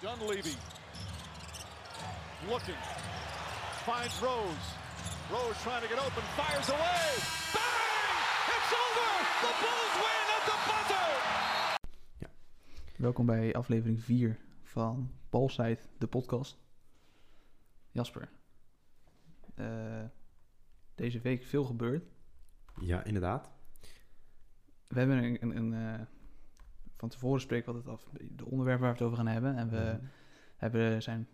Dunleavy looking, finds Rose. Rose trying to get open, fires away. Bang! It's over! The Bulls win at the buzzer! Welkom bij aflevering 4 van Balside, de podcast. Jasper, eh, deze week veel gebeurd. Ja, inderdaad. We hebben een... een, een, eh, van tevoren spreken we altijd af de onderwerpen waar we het over gaan hebben. En Mhm. we hebben, eh, zijn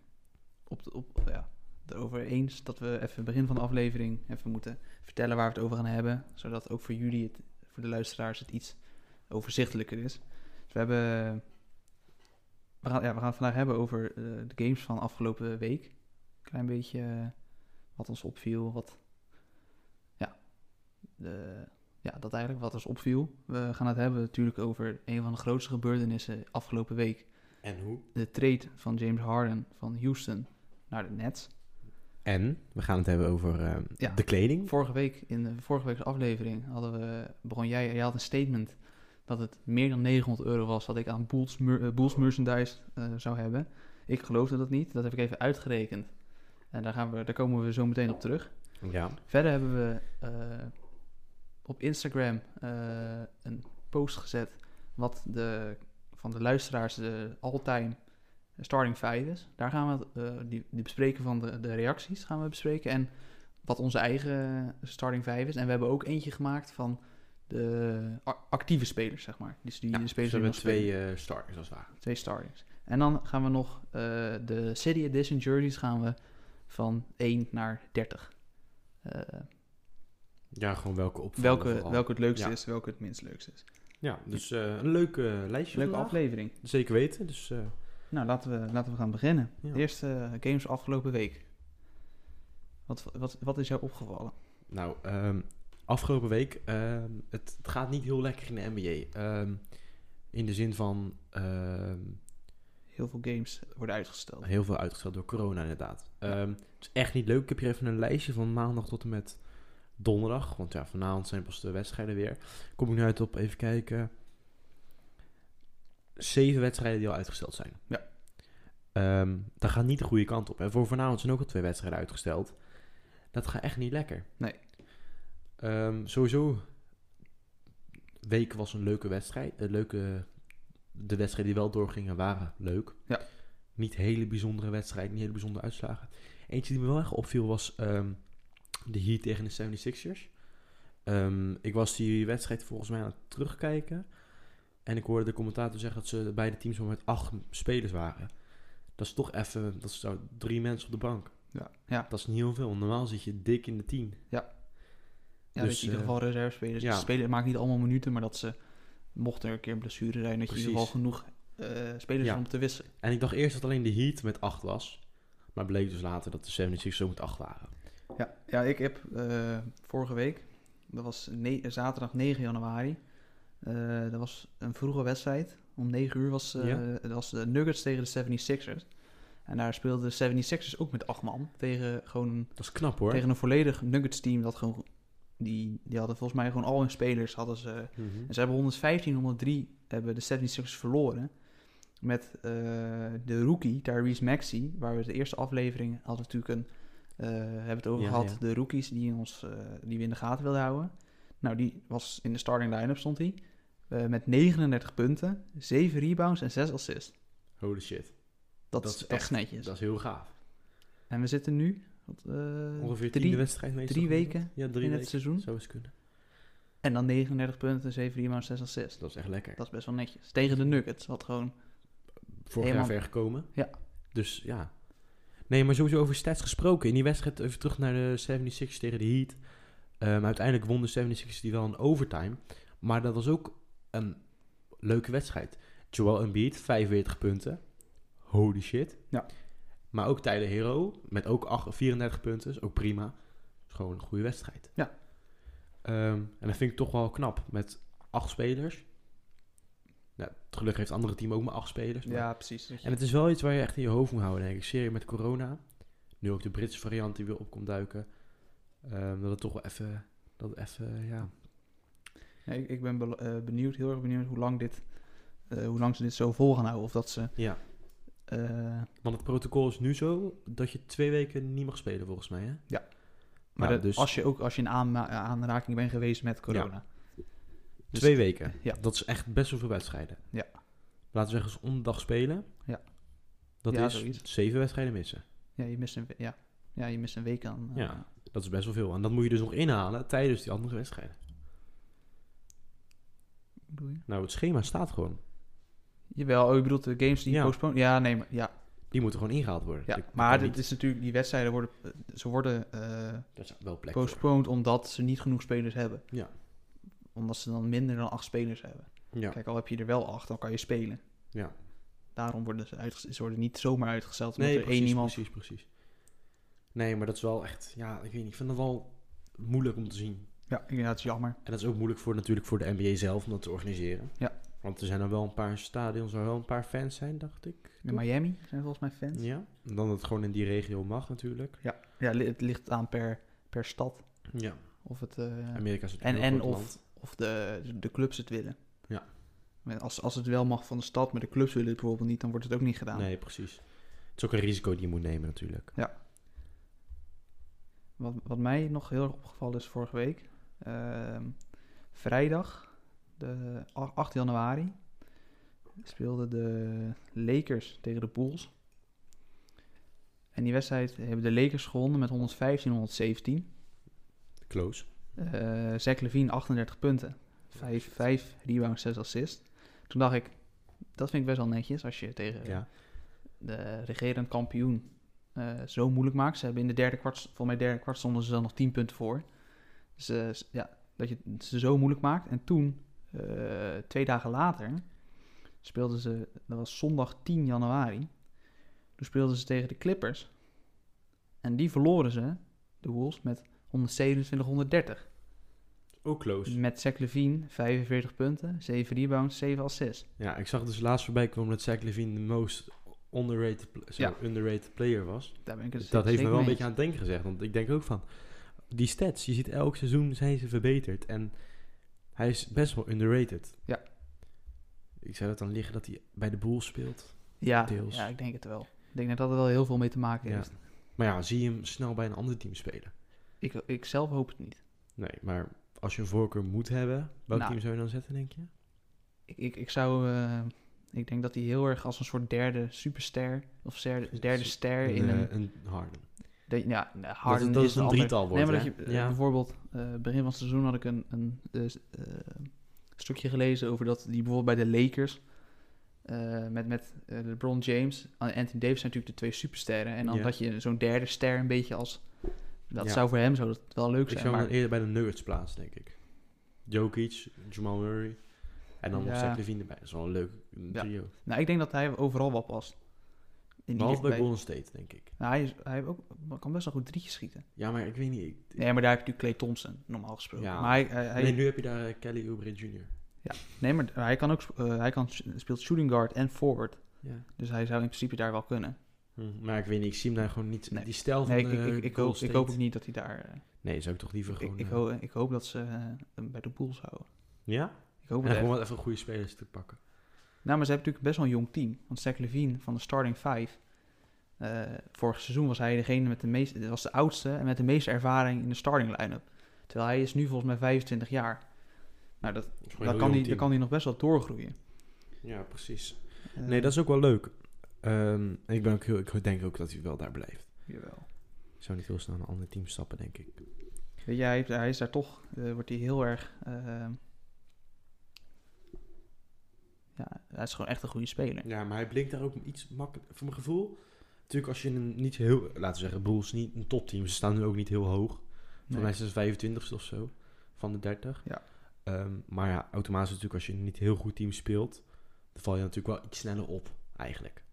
op, de- op, ja, erover eens dat we even begin van de aflevering even moeten vertellen waar we het over gaan hebben. Zodat ook voor jullie, het, voor de luisteraars, het iets overzichtelijker is. Dus we hebben... We gaan, ja, we gaan het vandaag hebben over eh, de games van afgelopen week. Klein beetje eh, wat ons opviel, wat... Ja, de, ja, dat eigenlijk wat ons opviel. We gaan het hebben natuurlijk over een van de grootste gebeurtenissen afgelopen week. En hoe? De trade van James Harden van Houston naar de Nets. En we gaan het hebben over eh, Ja. de kleding. Vorige week, in de vorige week's aflevering, hadden we, begon jij, jij had een statement dat het meer dan 900 euro was wat ik aan Bulls, mer- eh, Bulls merchandise eh, zou hebben. Ik geloofde dat niet, dat heb ik even uitgerekend. En daar, gaan we, daar komen we zo meteen op terug. Ja. Verder hebben we eh, op Instagram eh, een post gezet wat de, van de luisteraars de all-time starting five is. Daar gaan we het, eh, die, die bespreken van de, de reacties gaan we bespreken en wat onze eigen starting five is. En we hebben ook eentje gemaakt van de a- actieve spelers, zeg maar. Dus die ja. de Dus spelers we hebben die nog spelen. twee eh starters als het ware. Twee startings. En dan gaan we nog eh, de City Edition jerseys gaan we van 1 naar 30. Eh, Ja, gewoon welke op. welke, welke het leukste Ja. is, welke het minst leukste is. Ja, dus eh, een leuk eh, lijstje Leuke vandaag. aflevering. Zeker weten. Dus eh, Nou, laten we, laten we gaan beginnen. Ja. De eerste eh, games afgelopen week. Wat, wat, wat is jou opgevallen? nou, ehm, afgelopen week, ehm, het, het gaat niet heel lekker in de NBA. Ehm, in de zin van ehm, Heel veel games worden uitgesteld. heel veel uitgesteld door corona inderdaad. Ehm, het is echt niet leuk. Ik heb hier even een lijstje van maandag tot en met donderdag. Want ja, vanavond zijn pas de wedstrijden weer. Kom ik nu uit op even kijken. Zeven wedstrijden die al uitgesteld zijn. Ja. Ehm, dat gaat niet de goede kant op. En voor vanavond zijn ook al twee wedstrijden uitgesteld. Dat gaat echt niet lekker. Nee. Ehm, sowieso, week was een leuke wedstrijd. Een leuke, de wedstrijden die wel doorgingen waren leuk. Ja. Niet hele bijzondere wedstrijden, niet hele bijzondere uitslagen. Eentje die me wel echt opviel was ehm, de Heat tegen de 76ers. Ehm, ik was die wedstrijd volgens mij aan het terugkijken. En ik hoorde de commentator zeggen dat ze beide teams maar met acht spelers waren. Dat is toch even, dat is nou drie mensen op de bank. Ja, ja. Dat is niet heel veel. Normaal zit je dik in de tien. ja dat Dus, je in ieder eh, geval reservespelers ja. spelen. Het maakt niet allemaal minuten, maar dat ze, mocht er een keer een blessure zijn, dat je in Precies. ieder geval genoeg eh, spelers Ja. hebt om te wisselen. En ik dacht eerst dat alleen de Heat met 8 was. Maar bleek dus later dat de 76ers zo met 8 waren. Ja, ja ik heb eh, vorige week, dat was ne- zaterdag 9 januari, eh, dat was een vroege wedstrijd. Om 9 uur was, eh, Ja. dat was de Nuggets tegen de 76ers. En daar speelden de 76ers ook met acht man tegen, gewoon, Dat is knap hoor. tegen een volledig Nuggets team. Dat gewoon, die, die hadden volgens mij gewoon al hun spelers. Hadden ze, Mhm. en ze hebben 115, 103 hebben de 76ers verloren. Met eh, de rookie, Tyrese Maxey, waar we de eerste aflevering hadden natuurlijk een... eh, hebben het over Ja, gehad, ja. de rookies die, in ons, eh, die we in de gaten wilden houden. Nou, die was in de starting line-up stond hij. eh, met 39 punten, 7 rebounds en 6 assists. Holy shit. Dat, Dat is, is dat echt- is netjes. Dat is heel gaaf. En we zitten nu wat, eh, Ongeveer drie tiende wedstrijd meestal. drie gemiddeld. weken Ja, drie in het weken. seizoen. Zou eens kunnen. En dan 39 punten, 7 rebounds, 6 assists. Dat is echt lekker. Dat is best wel netjes. Tegen de Nuggets, wat gewoon... Vorig helemaal- jaar ver gekomen. Ja. Dus ja. Nee, maar sowieso over stats gesproken. In die wedstrijd even terug naar de 76ers tegen de Heat. Ehm, uiteindelijk won de 76ers die wel in overtime. Maar dat was ook een leuke wedstrijd. Joel Embiid, 45 punten. Holy shit. Ja. Maar ook Tyler Hero, met ook 8, 34 punten. Is ook prima. Is gewoon een goede wedstrijd. Ja. Ehm, en dat vind ik toch wel knap. Met acht spelers. Nou, gelukkig heeft het andere team ook maar acht spelers. maar- Ja, precies. dat je- en het is wel iets waar je echt in je hoofd moet houden, denk ik. Serie met corona. Nu ook de Britse variant die weer op komt duiken. Ehm, dat het toch wel even... Dat het even, ja... Ja, ik, ik ben belo- eh, benieuwd, heel erg benieuwd hoe lang, dit, eh, hoe lang ze dit zo vol gaan houden. Of dat ze Ja. eh, Eh, Want het protocol is nu zo dat je twee weken niet mag spelen, volgens mij. Hè? maar Ja, dat- dus- als je ook als je in aanma- aanraking bent geweest met corona. Dus- twee weken. ja. Dat is echt best wel veel wedstrijden. Ja. Laten we zeggen, als om de dag spelen. Ja. Dat Ja, is zoiets. zeven wedstrijden missen. Ja, je mist een, we- ja. Ja, je mist een week aan. eh, Ja. Dat is best wel veel. En dat moet je dus nog inhalen tijdens die andere wedstrijden. bedoel je? Nou, het schema staat gewoon. Jawel, oh, je bedoelt de games die Ja. postponed... Ja, nee, maar, ja, Die moeten gewoon ingehaald worden. Dus ja. Ik- ik maar kan dit niet- is natuurlijk... Die wedstrijden worden... eh, Ze worden eh, Daar is wel plek voor. postponed omdat ze niet genoeg spelers hebben. Ja. Omdat ze dan minder dan acht spelers hebben. Ja. Kijk, al heb je er wel acht, dan kan je spelen. Ja. Daarom worden ze, uitges- ze worden niet zomaar uitgesteld omdat nee, er precies, één iemand... precies, precies. Nee, maar dat is wel echt... Ja, ik weet niet. Ik vind dat wel moeilijk om te zien. Ja, ja, het is jammer. En dat is ook moeilijk voor natuurlijk voor de NBA zelf om dat te organiseren. Ja. Want er zijn er wel een paar stadions waar wel een paar fans zijn, dacht ik. In Miami zijn volgens mij fans. Ja. En dan dat het gewoon in die regio mag natuurlijk. Ja, li- het ligt aan per, per stad. Ja. Of het... eh, Amerika is En, natuurlijk een en groot of, land. of de, de clubs het willen. Ja. Maar Als, als het wel mag van de stad, maar de clubs willen het bijvoorbeeld niet, dan wordt het ook niet gedaan. Nee, precies. Het is ook een risico die je moet nemen natuurlijk. Wat, wat mij nog heel erg opgevallen is vorige week. ehm, vrijdag, de a- 8 januari, speelden de Lakers tegen de Bulls. En die wedstrijd hebben de Lakers gewonnen met 115-117. Close. eh Zach Levine 38 punten. 5, 5 rebounds, 6 assists. Toen dacht ik, dat vind ik best wel netjes als je tegen Ja. de regerend kampioen eh, zo moeilijk maakt. Ze hebben in de derde kwart, volgens mij derde kwart stonden ze dan nog 10 punten voor. Dus eh, s- ja, dat je het ze zo moeilijk maakt. En toen, eh, twee dagen later, speelden ze, dat was zondag 10 januari, toen speelden ze tegen de Clippers. En die verloren ze, de Wolves, met 127-130. Ook close. Met Zach Levine 45 punten, 7 rebounds, 7 assists. Ja, ik zag dus laatst voorbij komen dat Zach Levine de most underrated, pl- zo, Ja. underrated player was. Daar ben ik het Dus dat heeft zeker me wel een mee eens. beetje aan het denken gezegd. Want ik denk ook van, die stats, je ziet elk seizoen zijn ze verbeterd. En hij is best wel underrated. Ja. Ik zou dat dan liggen dat hij bij de Bulls speelt. ja, deels. ja, ik denk het wel. Ik denk dat dat er wel heel veel mee te maken Ja. heeft. Maar ja, zie je hem snel bij een ander team spelen? Ik, ik zelf hoop het niet. Nee, maar als je een voorkeur moet hebben, welk Nou. team zou je dan zetten, denk je? Ik, ik, ik zou... eh, ik denk dat hij heel erg als een soort derde superster... Of derde, derde ster in eh, een... een Harden. dat- ja, nou, Harden dat is het een ander- drietal wordt, Nee, maar hè? dat je eh, Ja. bijvoorbeeld... eh, begin van het seizoen had ik een, een eh, s- eh, stukje gelezen over dat die bijvoorbeeld bij de Lakers... eh, met met eh, LeBron James en Anthony Davis zijn natuurlijk de twee supersterren. En dan Ja. dat je zo'n derde ster een beetje als... Dat Ja. zou voor hem zou dat wel leuk Ik zijn. zou hem maar- dan eerder bij de Nuggets plaatsen, denk ik. Jokic, Jamal Murray. En dan nog Ja. Zach Levine erbij. Dat is wel een leuk eh, Ja. trio. Nou, ik denk dat hij overal wel past. In Behalve bij bij- Golden State, denk ik. Nou, hij, is, hij heeft ook, kan best wel goed drietjes schieten. Ja, maar ik weet niet. ik- Nee, maar daar heb je natuurlijk Clay Thompson, normaal gesproken. Ja. Maar hij, hij, hij- nee, nee, nu heb je daar eh, Kelly Oubre Jr. maar hij kan ook, sp- eh, hij kan, speelt shooting guard en forward. Ja. Dus hij zou in principe daar wel kunnen. Hm, Maar ik weet niet, ik zie hem daar gewoon niet. Nee. Die stijl van Nee, ik, de ik, ik, eh, ik, Golden hoop, ik State. hoop ook niet dat hij daar... eh, Nee, zou ik toch liever gewoon... ik, ik, eh, hoop, ik hoop dat ze eh, hem bij de Bulls houden. Ja? Ik hoop En het echt. gewoon wat even goede spelers te pakken. Nou, maar ze hebben natuurlijk best wel een jong team. Want Zach Levine van de starting five... eh, vorig seizoen was hij degene met de meeste... was de oudste en met de meeste ervaring in de starting line-up. Terwijl hij is nu volgens mij 25 jaar. Nou, dat, Dat is gewoon dan, een kan heel hij, jong dan kan hij nog best wel doorgroeien. team. Ja, precies. Eh, Nee, dat is ook wel leuk. Ehm, en ik, ben ook heel, ik denk ook dat hij wel daar blijft. Jawel. Ik zou niet heel snel naar een ander team stappen, denk ik. Weet je, hij, heeft- hij is daar toch... eh, wordt hij heel erg... ehm, ja, hij is gewoon echt een goede speler. Ja, maar hij blinkt daar ook iets makkelijk. Voor mijn gevoel. Natuurlijk, als je een niet heel. Laten we zeggen, Bulls niet een topteam. Ze staan nu ook niet heel hoog. Voor Nee. mij zijn ze 25ste of zo. Van de 30. Ja. Ehm, maar ja, automatisch natuurlijk, als je een niet heel goed team speelt. dan val je natuurlijk wel iets sneller op, eigenlijk.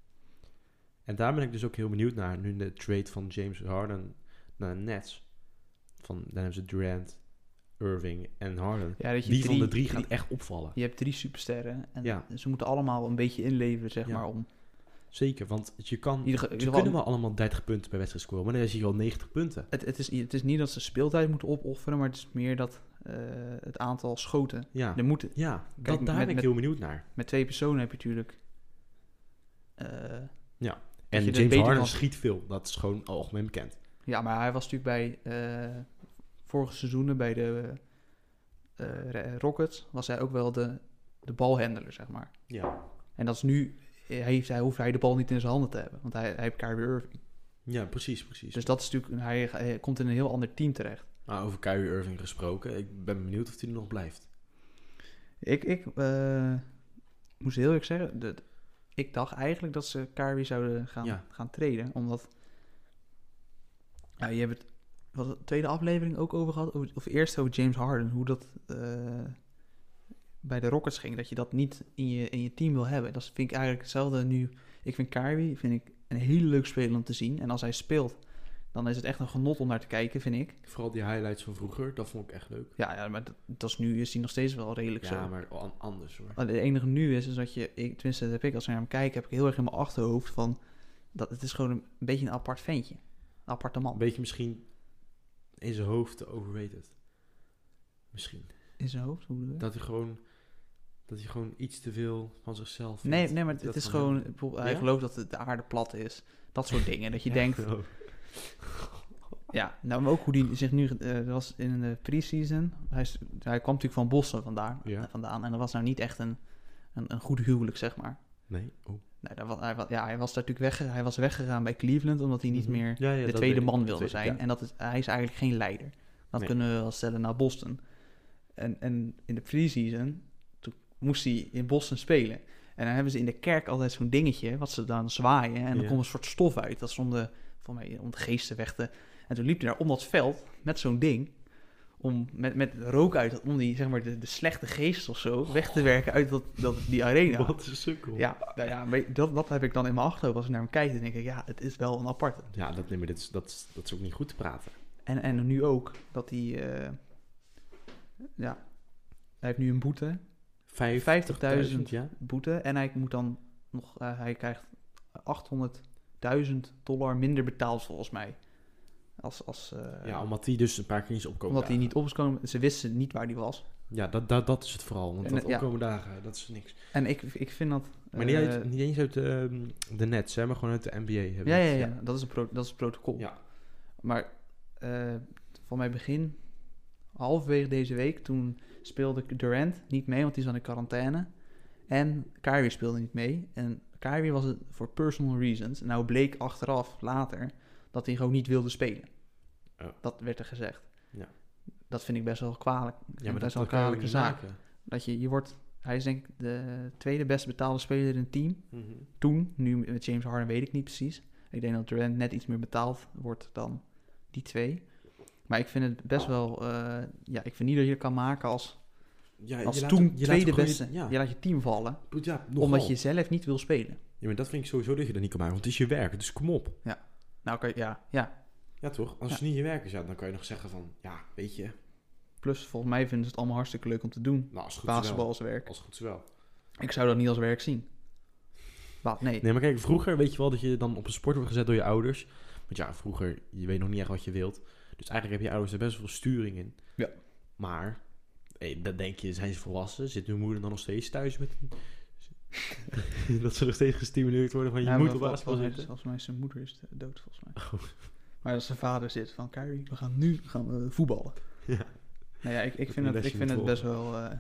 En daar ben ik dus ook heel benieuwd naar. Nu de trade van James Harden naar de Nets. Van, dan hebben ze Durant, Irving en Harden. Ja, dat je Die van de drie drie- gaat echt opvallen. Je hebt drie supersterren. En Ja. ze moeten allemaal een beetje inleveren, zeg Ja. maar, om... Zeker, want je kan. In ieder ge- in Ze ieder kunnen geval wel allemaal 30 punten per wedstrijd scoren, maar dan is hij wel 90 punten. Het, het, is, het is niet dat ze speeltijd moeten opofferen, maar het is meer dat eh, het aantal schoten. Ja, Er moeten, ja dat, daar Kijk, met- ben ik met- heel benieuwd naar. met twee personen heb je natuurlijk eh, En je dat James beter Harden kan- schiet veel. Dat is gewoon algemeen bekend. Ja, maar hij was natuurlijk bij eh, vorige seizoenen bij de eh, eh, Rockets was hij ook wel de, de balhandler, zeg maar. Ja. En dat is nu, eh, heeft hij, hoeft hij de bal niet in zijn handen te hebben, want hij, hij heeft Kyrie Irving. Ja, precies, precies. Dus dat is natuurlijk, hij, hij komt in een heel ander team terecht. Maar over Kyrie Irving gesproken, ik ben benieuwd of hij er nog blijft. Ik, ik eh, moest heel eerlijk zeggen, dat- ik dacht eigenlijk dat ze Kyrie zouden gaan, Ja. gaan treden. Omdat, ja, je hebt het wat, de tweede aflevering ook over gehad, over- of eerst over James Harden, hoe dat eh, bij de Rockets ging. Dat je dat niet in je, in je team wil hebben. Dat vind ik eigenlijk hetzelfde nu. Ik vind Kyrie vind ik een hele leuk speler om te zien. En als hij speelt, dan is het echt een genot om naar te kijken, vind ik. Vooral die highlights van vroeger, dat vond ik echt leuk. Ja, ja maar dat, dat is nu is hij nog steeds wel redelijk zo. Ja, maar an- anders hoor. Het enige nu is, is dat je, ik, tenminste dat heb ik, als ik naar hem kijk, heb ik heel erg in mijn achterhoofd van, dat het is gewoon een, een beetje een apart ventje. Een aparte Een man. beetje misschien in zijn hoofd te overrated. Misschien. In zijn hoofd? Hoe bedoel je? Dat hij gewoon, dat hij gewoon iets te veel van zichzelf nee, vindt. nee, maar het, Dat is van gewoon, hem. bijvoorbeeld, hij Ja? gelooft dat de- de aarde plat is. Dat soort dingen. Dat je denkt, Oh. ja, nou maar ook hoe die zich nu, eh, dat was in de pre-season, hij, is- hij kwam natuurlijk van Boston vandaar, Ja. vandaan en dat was nou niet echt een, een, een goed huwelijk, zeg maar. Nee, oh. Nee, dat was, hij, was- ja, hij was daar natuurlijk weg, hij was weggegaan bij Cleveland omdat hij niet Mhm. meer Ja, ja, de dat tweede weet ik. man De wilde tweede- zijn. ja. En dat is, hij is eigenlijk geen leider. Dat Nee. kunnen we wel stellen naar Boston. En, en in de preseason toen moest hij in Boston spelen. En dan hebben ze in de kerk altijd zo'n dingetje wat ze dan zwaaien. En dan Ja. komt een soort stof uit. Dat is om de, voor mij, om de geesten weg te... En toen liep hij daar om dat veld met zo'n ding. Om, met, met rook uit, om die, zeg maar, de, de slechte geest of zo weg Oh. te werken uit dat, dat, die arena. Wat een sukkel. Ja, nou ja maar dat, dat heb ik dan in mijn achterhoofd als ik naar hem kijk. Dan denk ik, ja, het is wel een aparte. Ja, dat, nee, maar dit is, dat, is, dat is ook niet goed te praten. En, en nu ook, dat hij... eh, ja, hij heeft nu een boete. 50.000, 50.000. ja. boete en hij moet dan nog... eh, hij krijgt 800.000 dollar minder betaald, volgens mij. Als, als, eh, Ja, omdat hij dus een paar keer niet is opkomen omdat hij dagen. niet op is gekomen. Ze wisten niet waar hij was. Ja, dat, dat, dat is het vooral. Want En, dat eh, ja. opkomen dagen, dat is niks. En ik, ik vind dat... Maar niet, eh, uit, niet eens uit de, de Nets, hè, maar gewoon uit de NBA. Hebben we ja, ja, het. ja, Dat, is een pro- dat is het protocol. Ja. Maar eh van mijn begin, halverwege deze week, toen speelde Durant niet mee, want die zat in quarantaine. En Kyrie speelde niet mee. En Kyrie was het voor personal reasons. Nou bleek achteraf, later, dat hij gewoon niet wilde spelen. Oh. Dat werd er gezegd. Ja. Dat vind ik best wel kwalijk. Ja, Ja, maar dat, best wel dat kan een je ook kwalijke niet zaak. maken. Dat je, je wordt, hij is denk ik de tweede best betaalde speler in het team Mhm. toen, nu met James Harden weet ik niet precies. Ik denk dat Durant net iets meer betaald wordt dan die twee. Maar ik vind het best wel, eh, ja, ik vind niet dat je het kan maken als, Ja, als je laat toen hem- je laat tweede hem gewoon beste. je- Ja, Je laat je team vallen, goed, ja, nogal. omdat je zelf niet wil spelen. Ja, maar dat vind ik sowieso dat je dat niet kan maken, want het is je werk, dus kom op. Nou, kan je- ja, ja. Ja, toch? Als Ja. het niet je werk is, ja, dan kan je nog zeggen van, ja, weet je, Plus, volgens mij vinden ze het allemaal hartstikke leuk om te doen. nou, als het goed is Basketbal wel. als werk. Als het goed is wel. Ik zou dat niet als werk zien. Wat? Nee. Eh, Nee, maar kijk, vroeger weet je wel dat je dan op een sport wordt gezet door je ouders. Want ja, vroeger, je weet nog niet echt wat je wilt. Dus eigenlijk heb je ouders er best wel veel sturing in. Ja. Maar, hé, dan denk je, zijn ze volwassen? Zit hun moeder dan nog steeds thuis met... dat ze nog steeds gestimuleerd worden van, je Ja, moet maar op vol- basketbal volgens zitten. mij- Volgens mij is zijn moeder is dood, volgens mij. Maar als zijn vader zit van, Kyrie, we gaan nu gaan we voetballen. Ja. Nou ja, ik, ik Dat vind, moet het, best ik vind niet het best wel... eh,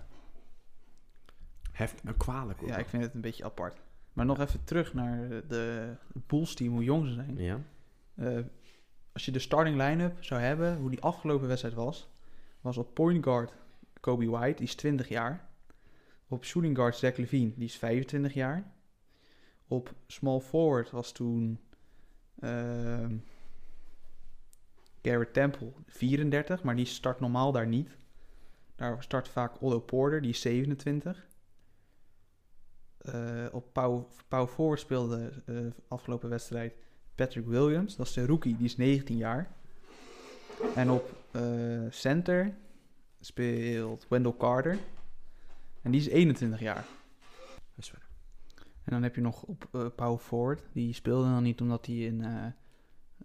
Heft, nou, kwalijk hoor. ja, ik vind het een beetje apart. Maar nog even terug naar de Bulls team, hoe jong ze zijn. Ja? Eh, als je de starting line-up zou hebben, hoe die afgelopen wedstrijd was... was op point guard Kobe White, die is 20 jaar. Op shooting guard Zach Levine, die is 25 jaar. Op small forward was toen ehm Garrett Temple, 34, maar die start normaal daar niet. Daar start vaak Otto Porter, die is 27. Eh, op power, power forward speelde eh, afgelopen wedstrijd Patrick Williams, dat is de rookie, die is 19 jaar. En op eh, center speelt Wendell Carter. En die is 21 jaar. Dat is verder. En dan heb je nog op eh, Power Forward. Die speelde dan niet omdat hij in eh,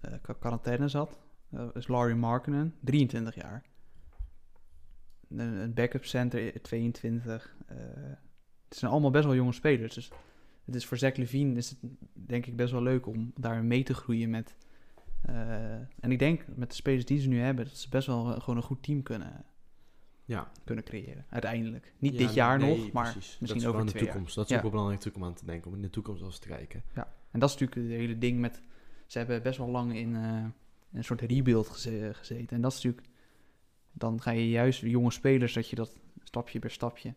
eh, qua- quarantaine zat. Dat is Larry Markkinen, 23 jaar. Een, Eh, een backup center, eh, 22. eh, het zijn allemaal best wel jonge spelers. Dus het is voor Zach Levine is het denk ik best wel leuk om daar mee te groeien met. eh, en ik denk met de spelers die ze nu hebben, dat ze best wel eh, gewoon een goed team kunnen, Ja. kunnen creëren. Uiteindelijk. Niet Ja, dit jaar nee, nog, maar precies. dat misschien is over gewoon twee de jaar. toekomst. Dat is Ja. ook wel belangrijk natuurlijk om aan te denken. Om in de toekomst wel eens te kijken. En dat is natuurlijk het hele ding met... Ze hebben best wel lang in eh, een soort rebuild geze- gezeten. En dat is natuurlijk... Dan ga je juist jonge spelers dat je dat stapje per stapje...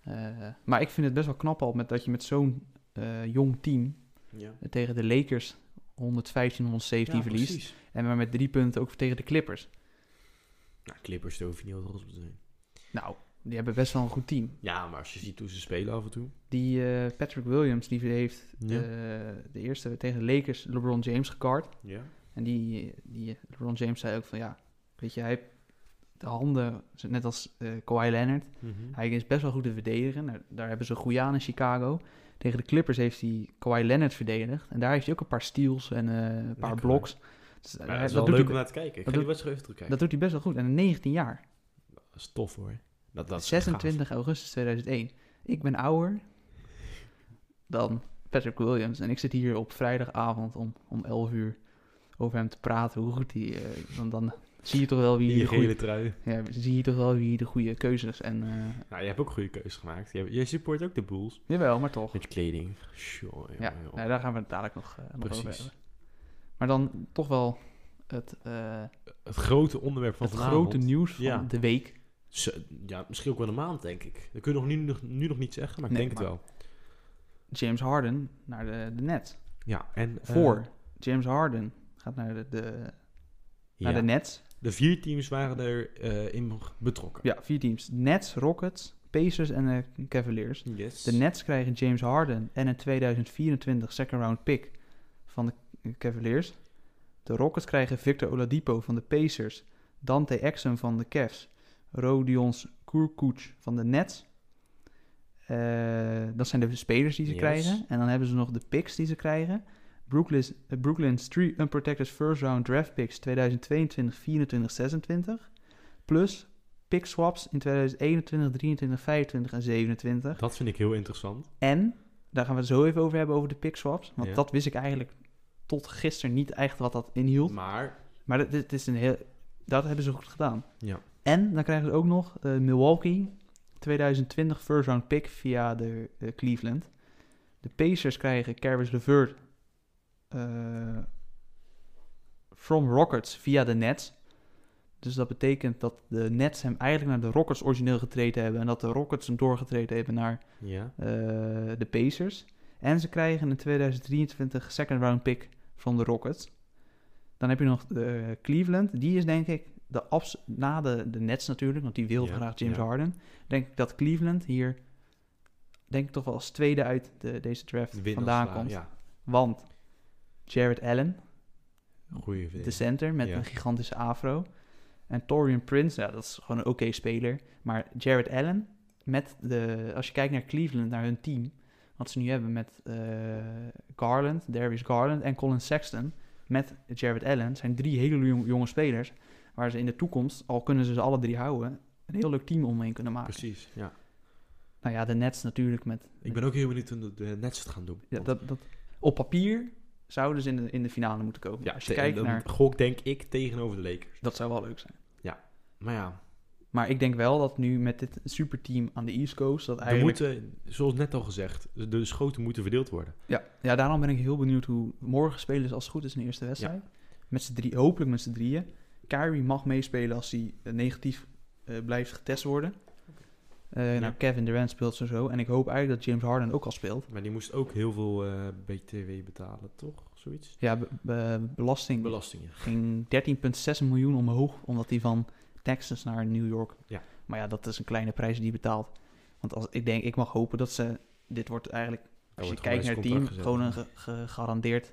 eh, maar ik vind het best wel knap al met, dat je met zo'n eh, jong team... Ja. tegen de Lakers 115, 117 verliest. precies. En maar met drie punten ook tegen de Clippers. Nou, Clippers, daar hoef je niet heel trots op te zijn. Nou, die hebben best wel een goed team. Ja, maar als je ziet hoe ze spelen af en toe. Die eh, Patrick Williams, die heeft Ja. eh, de eerste tegen de Lakers LeBron James gecard. Ja. En die, die LeBron James zei ook van ja, weet je, hij heeft de handen, net als eh Kawhi Leonard. Mhm. Hij is best wel goed te verdedigen. Nou, daar hebben ze een goede aan in Chicago. Tegen de Clippers heeft hij Kawhi Leonard verdedigd. En daar heeft hij ook een paar steals en eh, een paar Lekker. bloks. Dus, eh, Maar het hij- is wel doet leuk om hij, naar te kijken. Ik dat ga die doet- wedstrijd even terugkijken. dat doet hij best wel goed. En in 19 jaar. Dat is tof hoor. Dat, dat is gaaf. 26 augustus 2001. Ik ben ouder dan Patrick Williams. En ik zit hier op vrijdagavond om, om 11 uur over hem te praten. Hoe goed hij... eh, dan, dan zie je toch wel wie Die de goede gele trui. Ja, we zie je toch wel wie de goede keuzes en... eh, Nou, je hebt ook een goede keuze gemaakt. Je, hebt- je support ook de Bulls. jawel, maar toch. Met kleding. Sjoe, Ja, jongen, nou, jongen. daar gaan we het dadelijk nog, eh, nog over Precies. hebben. Maar dan toch wel het, eh, Het grote onderwerp van het vanavond. grote nieuws van Ja. de week. Zo- Ja, misschien ook wel een maand, denk ik. Dat kun je nog nu, nog, nu nog niet zeggen, maar ik Nee, denk maar- het wel. James Harden naar de, de Nets. Ja, en... eh, Voor James Harden gaat naar de, de, ja, naar de Nets. de vier teams waren er eh, in betrokken. Ja, vier teams. Nets, Rockets, Pacers en eh, Cavaliers. Yes. De Nets krijgen James Harden en een 2024 second round pick van de Cavaliers. De Rockets krijgen Victor Oladipo van de Pacers, Dante Exum van de Cavs, Rodions Kurkuc van de Nets. Eh, dat zijn de spelers die ze Yes. krijgen. En dan hebben ze nog de picks die ze krijgen. Brooklyn, eh, Brooklyn's three unprotected first round draft picks 2022, 24, 26. Plus pick swaps in 2021, 23, 25 en 27. Dat vind ik heel interessant. En, daar gaan we het zo even over hebben, over de pick swaps. Want Ja. dat wist ik eigenlijk tot gisteren niet echt wat dat inhield. Maar... Maar dat, dit is een heel, dat hebben ze goed gedaan. Ja. En dan krijgen ze ook nog eh, Milwaukee, 2020 first round pick via de eh, Cleveland. De Pacers krijgen Caris LeVert eh, from Rockets via de Nets. Dus dat betekent dat de Nets hem eigenlijk naar de Rockets origineel getreden hebben. En dat de Rockets hem doorgetreden hebben naar Ja. eh, de Pacers. En ze krijgen een 2023 second round pick van de Rockets. Dan heb je nog eh, Cleveland. Die is denk ik de abs na de, de Nets natuurlijk, want die wil Ja, graag James ja. Harden. Denk ik dat Cleveland hier denk ik toch wel als tweede uit de, deze draft Win of vandaan slaan, komt. Ja. Want Jared Allen, Goeie de verdediging. center met Ja. een gigantische afro. En Torian Prince, ja, dat is gewoon een oké speler. Maar Jared Allen, met de, als je kijkt naar Cleveland, naar hun team, wat ze nu hebben met eh, Garland, Darius Garland en Colin Sexton, met Jared Allen, zijn drie hele jonge, jonge spelers, waar ze in de toekomst, al kunnen ze ze alle drie houden, een heel leuk team omheen kunnen maken. Precies, ja. Nou ja, de Nets natuurlijk met... Ik ben ook heel benieuwd hoe de, de Nets het gaan doen. ja, Want- dat, dat, op papier zouden ze in de, in de finale moeten komen. ja, als je te- kijkt dan naar... Gok denk ik tegenover de Lakers. Dat zou wel leuk zijn. Maar ja, Maar ik denk wel dat nu met dit superteam aan de East Coast... dat er eigenlijk... moeten, zoals net al gezegd, de schoten moeten verdeeld worden. Ja, ja, daarom ben ik heel benieuwd hoe morgen spelen ze als het goed is in de eerste wedstrijd. Met z'n drie, hopelijk met z'n drieën. Kyrie mag meespelen als hij eh, negatief eh, blijft getest worden. Eh, Ja. Nou, Kevin Durant speelt sowieso. En ik hoop eigenlijk dat James Harden ook al speelt. Maar die moest ook heel veel eh, BTW betalen, toch? Zoiets? Ja, be- be- belasting Belastingen. ging 13,6 miljoen omhoog, omdat hij van Texas naar New York. Ja. Maar ja, dat is een kleine prijs die je betaalt. Want als, ik denk, ik mag hopen dat ze, dit wordt eigenlijk, als je wordt gewoon kijkt naar het eens team, contract gewoon een gezet. ge- gegarandeerd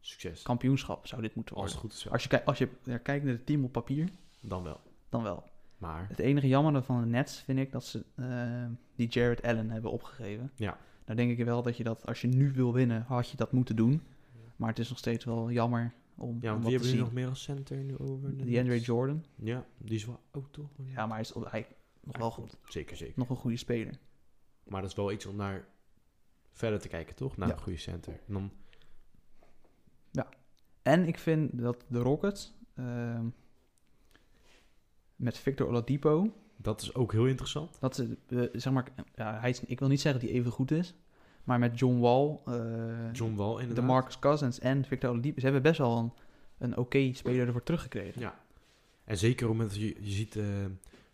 Succes. kampioenschap zou dit moeten Als het worden. goed is wel. Als je, kijk- als je ja, kijkt naar het team op papier, Dan wel. dan wel. Maar Het enige jammer van de Nets vind ik dat ze eh, die Jared Allen hebben opgegeven. Ja. Nou denk ik wel dat je dat, als je nu wil winnen, had je dat moeten doen. Maar het is nog steeds wel jammer om, ja, om want dat wie te hebben we zien. nog meer als center nu over? Die Andre Jordan. Ja, die is wel oud toch? Ja, maar hij is hij, nog wel goed. Zeker, zeker. Nog een goede speler. Maar dat is wel iets om naar verder te kijken, toch? Naar Ja. een goede center. En dan, En ik vind dat de Rockets ehm, met Victor Oladipo, dat is ook heel interessant. dat ze, eh, zeg maar, ja, hij is, ik wil niet zeggen dat hij even goed is, maar met John Wall, eh, John Wall de inderdaad. Marcus Cousins en Victor Oladipo, ze hebben best wel een, een oké speler ervoor teruggekregen. En zeker omdat je, je ziet eh,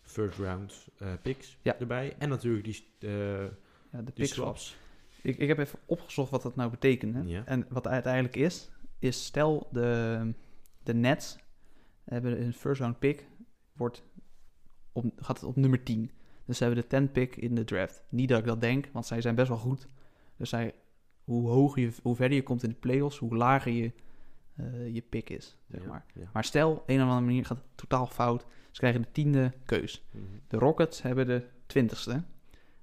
first round eh, picks Ja. erbij. En natuurlijk die, eh Ja, de die pick swap. swaps. Ik, ik heb even opgezocht wat dat nou betekende. Ja. En wat het uiteindelijk is, is stel de, de Nets hebben een first round pick, wordt op, gaat het op nummer 10. Dus ze hebben de 10 pick in de draft. Niet dat ik dat denk, want zij zijn best wel goed. Dus zij, hoe, hoger je, hoe verder je komt in de playoffs, hoe lager je, eh, je pick is, zeg Ja, maar. ja. Maar stel, een of andere manier gaat het totaal fout. Ze krijgen de tiende keus. Mhm. De Rockets hebben de 20ste.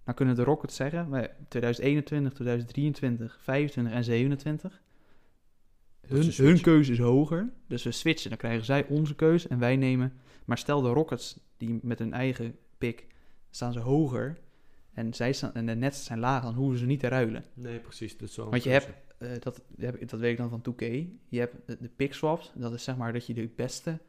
Dan kunnen de Rockets zeggen, wij- 2021, 2023, 25 en 27. is Hun, een switch. hun keuze is hoger, dus we switchen. Dan krijgen zij onze keuze en wij nemen... Maar stel de Rockets, die met hun eigen pick, staan ze hoger. En, zij staan, en de Nets zijn lager, dan hoeven ze niet te ruilen. Nee, precies. Dat is wel een Want je keuze. hebt, eh, dat, heb ik- dat weet ik dan van 2K, je hebt de, de pick swaps. Dat is zeg maar dat je de beste...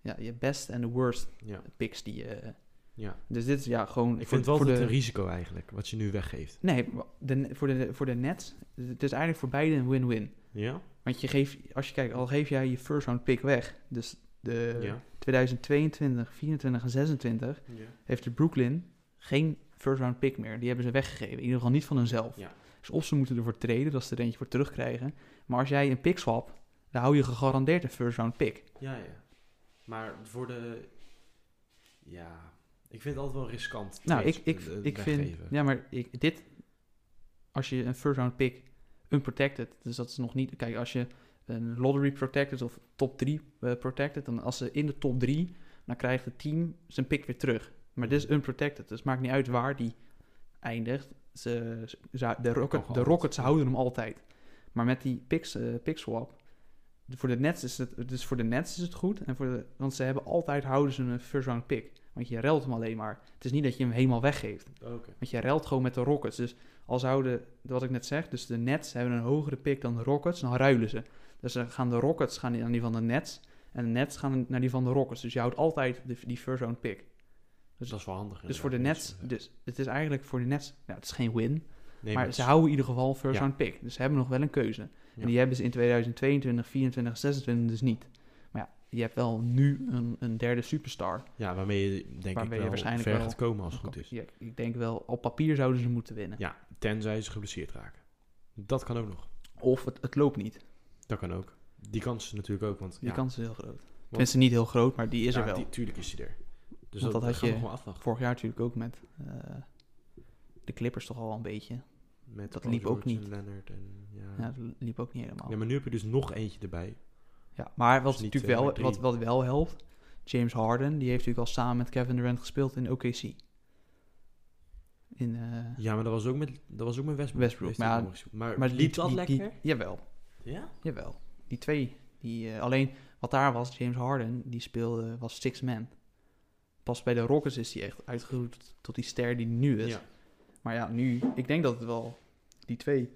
Ja, je best en de worst Ja. picks die je... Ja. Dus dit is ja gewoon. Ik voor- vind het wel voor altijd de een risico eigenlijk, wat je nu weggeeft. Nee, maar de, voor, de, voor de Nets. Het is eigenlijk voor beide een win-win. Ja? Want je geeft, als je kijkt, al geef jij je first round pick weg. Dus de ja. 2022, 24 en 26 ja. heeft de Brooklyn geen first round pick meer. Die hebben ze weggegeven. In ieder geval niet van hunzelf. Ja. Dus of ze moeten ervoor treden, dat ze er eentje voor terugkrijgen. Maar als jij een pick swap, dan hou je gegarandeerd een first round pick. Ja, ja. Maar voor de... Ja. Ik vind het altijd wel riskant. Nou, ik, trades, ik, eh, ik vind. weggeven. Ja, maar ik, dit. Als je een first round pick unprotected. Dus dat is nog niet. Kijk, als je een lottery protected of top 3 eh, protected. Dan als ze in de top 3. Dan krijgt het team zijn pick weer terug. Maar dit is unprotected. Dus het maakt niet uit waar die eindigt. Ze, ze- ze- de, Kan rocket, de gehandeld. Rockets houden hem altijd. Maar met die picks, eh, pick swap. Voor de, Nets is het, dus voor de Nets is het goed. En voor de, want ze hebben altijd houden ze een first round pick. Want je ruilt hem alleen maar. Het is niet dat je hem helemaal weggeeft. Oké. Want je ruilt gewoon met de Rockets. Dus als zouden, wat ik net zeg, dus de Nets hebben een hogere pick dan de Rockets, dan ruilen ze. Dus dan gaan de Rockets gaan naar die van de Nets. En de Nets gaan naar die van de Rockets. Dus je houdt altijd de, die first round pick. Dus dat is wel handig. Dus voor de inderdaad, Nets, als je- dus het is eigenlijk voor de Nets, nou het is geen win. Nee, maar het ze is- houden in ieder geval first Ja. round pick. Dus ze hebben nog wel een keuze. Ja. En die hebben ze in 2022, 24, 26 dus niet. Maar ja, je hebt wel nu een, een derde superstar. Ja, waarmee je denk Waarmee je ik wel waarschijnlijk ver wel- gaat komen als het goed is. Ja, ik denk wel, op papier zouden ze moeten winnen. Ja, tenzij ze geblesseerd raken. Dat kan ook nog. Of het, het loopt niet. Dat kan ook. Die kans is natuurlijk ook, want Die ja, kans is heel groot. Tenminste, niet heel groot, maar die is ja, er wel. die- tuurlijk is die er. Dus Want dat, dat had gaan we je- gewoon afwachten. Vorig jaar natuurlijk ook met eh, de Clippers toch al wel een beetje. Met dat Paul liep ook George en niet. Leonard en ja. Ja, dat liep ook niet helemaal. Ja, Ja, maar, maar nu heb je dus nog eentje erbij. wat, Dus niet natuurlijk twee, wel, maar drie. wat, wat wel helpt, James Harden, die heeft natuurlijk al samen met Kevin Durant gespeeld in OKC. In, eh, Ja, maar dat was ook met, dat was ook met Westbrook. Westbrook, Heeft hij maar- ook nog gespeeld. maar, maar liep die- dat die- die- lekker? jawel, ja? jawel. Die twee. Die, eh, alleen wat daar was, James Harden, die speelde, was six man. Pas bij de Rockets is hij echt uitgeroeid tot- tot die ster die hij nu is. ja. Maar ja, nu, ik denk dat het wel die twee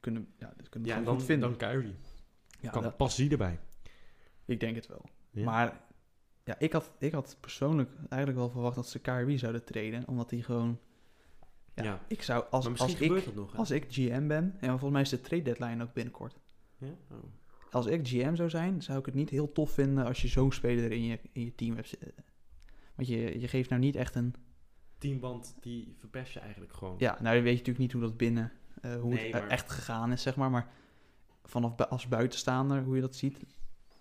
kunnen, ja, dat kunnen we Ja, gewoon dan, goed vinden. dan Kyrie. ja, kan dat- pas die erbij. ik denk het wel. Ja. Maar ja, ik, had, ik had persoonlijk eigenlijk wel verwacht dat ze Kyrie zouden treden, omdat die gewoon, ja, Ja. ik zou, als, maar misschien als, gebeurt ik, dat nog. hè? als ik GM ben, en volgens mij is de trade deadline ook binnenkort. Ja? Oh. Als ik GM zou zijn, zou ik het niet heel tof vinden als je zo'n speler in je, in je team hebt zitten. Want je, je geeft nou niet echt een... Teamband, die verpest je eigenlijk gewoon. Ja, nou je weet natuurlijk niet hoe dat binnen, eh, hoe Nee, het eh, maar- echt gegaan is, zeg maar. Maar vanaf bu- als buitenstaander, hoe je dat ziet.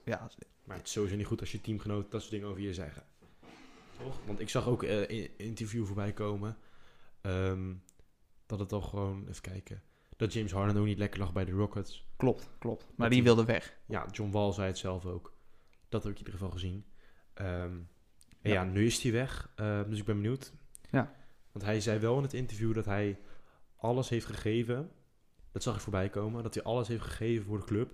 Ja, Maar het is sowieso niet goed als je teamgenoot dat soort dingen over je zeggen. Toch? Want ik zag ook eh, in interview voorbij komen ehm, dat het al gewoon, even kijken, dat James Harden ook niet lekker lag bij de Rockets. klopt, klopt. Maar Dat die die- wilde weg. Ja, John Wall zei het zelf ook. Dat heb ik in ieder geval gezien. Ehm, en Ja. ja. nu is hij weg, ehm, dus ik ben benieuwd. Ja. Want hij zei wel in het interview dat hij alles heeft gegeven. Dat zag ik voorbij komen, dat hij alles heeft gegeven voor de club.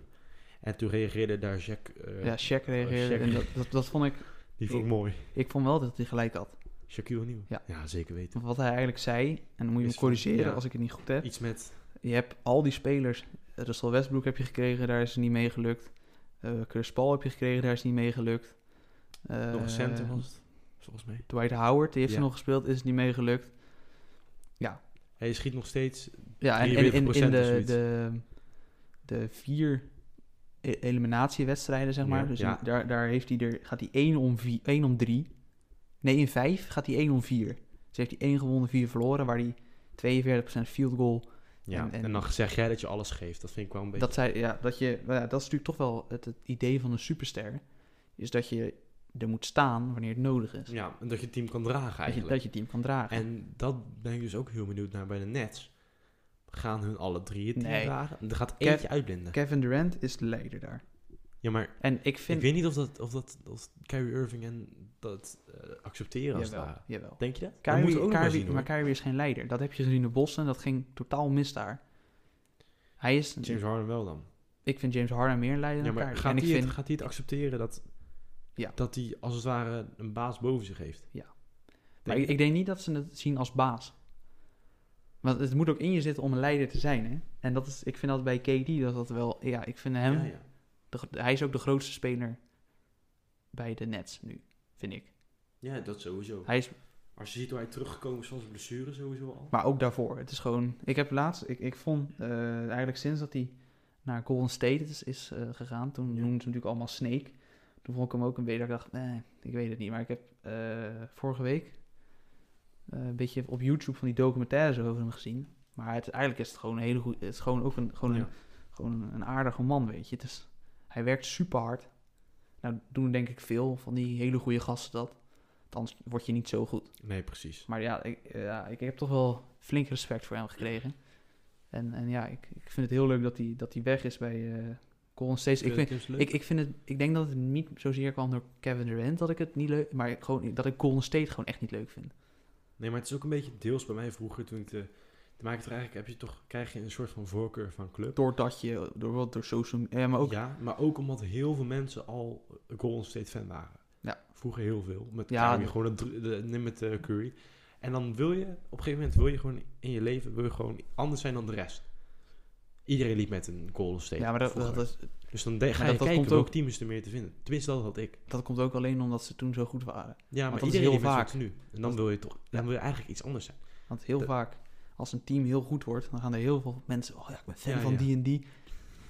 En toen reageerde daar Jack. eh, Ja, Shaq reageerde. Oh, Shaq. En dat, dat, dat vond ik... Die vond ik mooi. Ik vond wel dat hij gelijk had. Shaquille O'Neal. Ja. zeker weten. Wat hij eigenlijk zei, en dan moet je Is me corrigeren van- ja. als ik het niet goed heb. Iets met... Je hebt al die spelers. Russell Westbrook heb je gekregen, daar is het niet mee gelukt. Eh, Chris Paul heb je gekregen, daar is het niet mee gelukt. Eh, nog een center was het, volgens mij. Dwight Howard, die heeft Ja. er nog gespeeld, is het niet mee gelukt. Hij schiet nog steeds... Ja, en, en- en- in, 43% of de, zoiets. de, de vier e- eliminatiewedstrijden, zeg maar. Ja, dus ja. in- daar, daar heeft hij er, gaat hij 1 om, vi- één om 3. Nee, in 5 gaat hij 1 om 4. Dus heeft hij 1 gewonnen, 4 verloren, waar hij 42% field goal Ja, en, en- dan zeg jij dat je alles geeft. Dat vind ik wel een beetje... Dat, zij, ja, dat, je, nou ja, dat is natuurlijk toch wel het, het idee van een superster. Is dat je er moet staan wanneer het nodig is. Ja, en dat je het team kan dragen dat, je, eigenlijk. dat je het team kan dragen. En dat ben ik dus ook heel benieuwd naar bij de Nets. Gaan hun alle drie het team Nee. dragen? Er gaat Kev- eentje uitblinden. Kevin Durant is de leider daar. Ja, maar En ik vind... Ik weet niet of dat, of dat of Kyrie Irving en dat eh, accepteren als het jawel, ware. jawel. Denk je dat? dat Kyrie, moeten we ook nog maar Kyrie- zien, maar hoor. Kyrie is geen leider. Dat heb je gezien in Boston. Dat ging totaal mis daar. Hij is... James Harden wel dan. Ik vind James Harden meer een Ja, leider dan maar Kyrie. gaat en ik hij, het, vind... gaat hij het accepteren dat, Ja. dat hij als het ware een baas boven zich heeft? Ja. Denk Maar je? ik, ik denk niet dat ze het zien als baas. Want het moet ook in je zitten om een leider te zijn, hè? En dat is... Ik vind dat bij KD dat dat wel... Ja, ik vind hem... Ja, ja. De gro- hij is ook de grootste speler bij de Nets nu, vind ik. Ja, dat sowieso. Hij is, Als je ziet hoe hij teruggekomen is van zijn blessure sowieso al. maar ook daarvoor. Het is gewoon. Ik heb laatst. Ik, ik vond eh, eigenlijk sinds dat hij naar Golden State is, is eh, gegaan. Toen Ja. noemden ze hem natuurlijk allemaal Snake. Toen vond ik hem ook een beetje. dat Ik dacht, nee, ik weet het niet. Maar ik heb eh, vorige week eh, een beetje op YouTube van die documentaires over hem gezien. Maar het, eigenlijk is het gewoon een hele goed. Het is gewoon ook een, gewoon een Ja. gewoon een aardige man, weet je. Het is, hij werkt super hard. Nou, doen denk ik veel van die hele goede gasten dat. Anders word je niet zo goed. Nee, precies. Maar ja, ik, ja, ik heb toch wel flink respect voor hem gekregen. En, en ja, ik, ik vind het heel leuk dat hij, dat hij weg is bij eh Golden State. Ik, vind, ik, ik, vind het, ik denk dat het niet zozeer kwam door Kevin Durant dat ik het niet leuk... Maar ik gewoon, dat ik Golden State gewoon echt niet leuk vind. Nee, maar het is ook een beetje deels bij mij vroeger toen ik de... De maak het eigenlijk, heb je toch, krijg je een soort van voorkeur van club. Doordat je, door, wat door social media... Ja, maar ook... Ja, Ja, maar ook omdat heel veel mensen al Golden State fan waren. Ja. Vroeger heel veel. Met Ja, Kyrie, de- gewoon het dru- de, nee, met eh, Curry. En dan wil je, op een gegeven moment wil je gewoon in je leven wil je gewoon anders zijn dan de rest. Iedereen liep met een Golden State. maar dat, vroeger. dat, is, dus dan de- ga dat- je dat kijken komt welk ook- team is er meer te vinden. Tenminste, dat had ik. dat komt ook alleen omdat ze toen zo goed waren. Ja, dat maar is iedereen heel liep vaak. vaak. nu. En dan Dat- wil je toch, ja. dan wil je eigenlijk iets anders zijn. Want heel De- vaak, als een team heel goed wordt, dan gaan er heel veel mensen... Oh ja, ik ben fan Ja, van ja. die en die.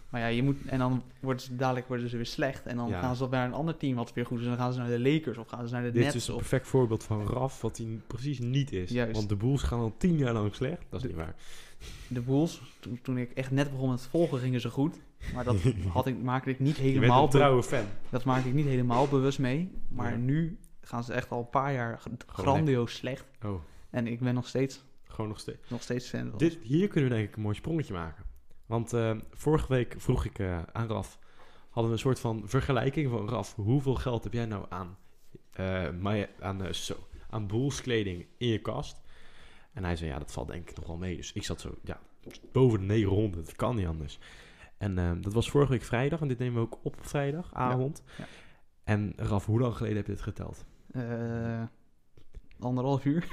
Maar ja, je moet... En dan worden ze dadelijk worden ze weer slecht. En dan Ja. gaan ze op naar een ander team wat weer goed is. En dan gaan ze naar de Lakers of gaan ze naar de Dit is Nets. dus een of, perfect voorbeeld van Raf, wat hij precies niet is. Juist. Want de Bulls gaan al tien jaar lang slecht. Dat is De- niet waar. de Bulls, toen, toen ik echt net begon met het volgen, gingen ze goed. Maar dat had ik, maakte ik niet Je bent helemaal... een be- trouwe fan. Dat maakte ik niet helemaal bewust mee. Maar Ja. nu gaan ze echt al een paar jaar g- grandioos slecht. Oh, En ik ben nog steeds, gewoon nog steeds. nog steeds fan van Dit, hier kunnen we denk ik een mooi sprongetje maken. Want eh, vorige week vroeg ik eh, aan Raf, hadden we een soort van vergelijking van Raf, hoeveel geld heb jij nou aan, eh, mij- aan, eh, zo, aan Bulls kleding in je kast? En hij zei, ja, dat valt denk ik nog wel mee. Dus ik zat zo, ja, boven de 900, dat kan niet anders. En eh, dat was vorige week vrijdag, en dit nemen we ook op op vrijdagavond. Ja, ja. En Raf, hoe lang geleden heb je dit geteld? Eh, anderhalf uur.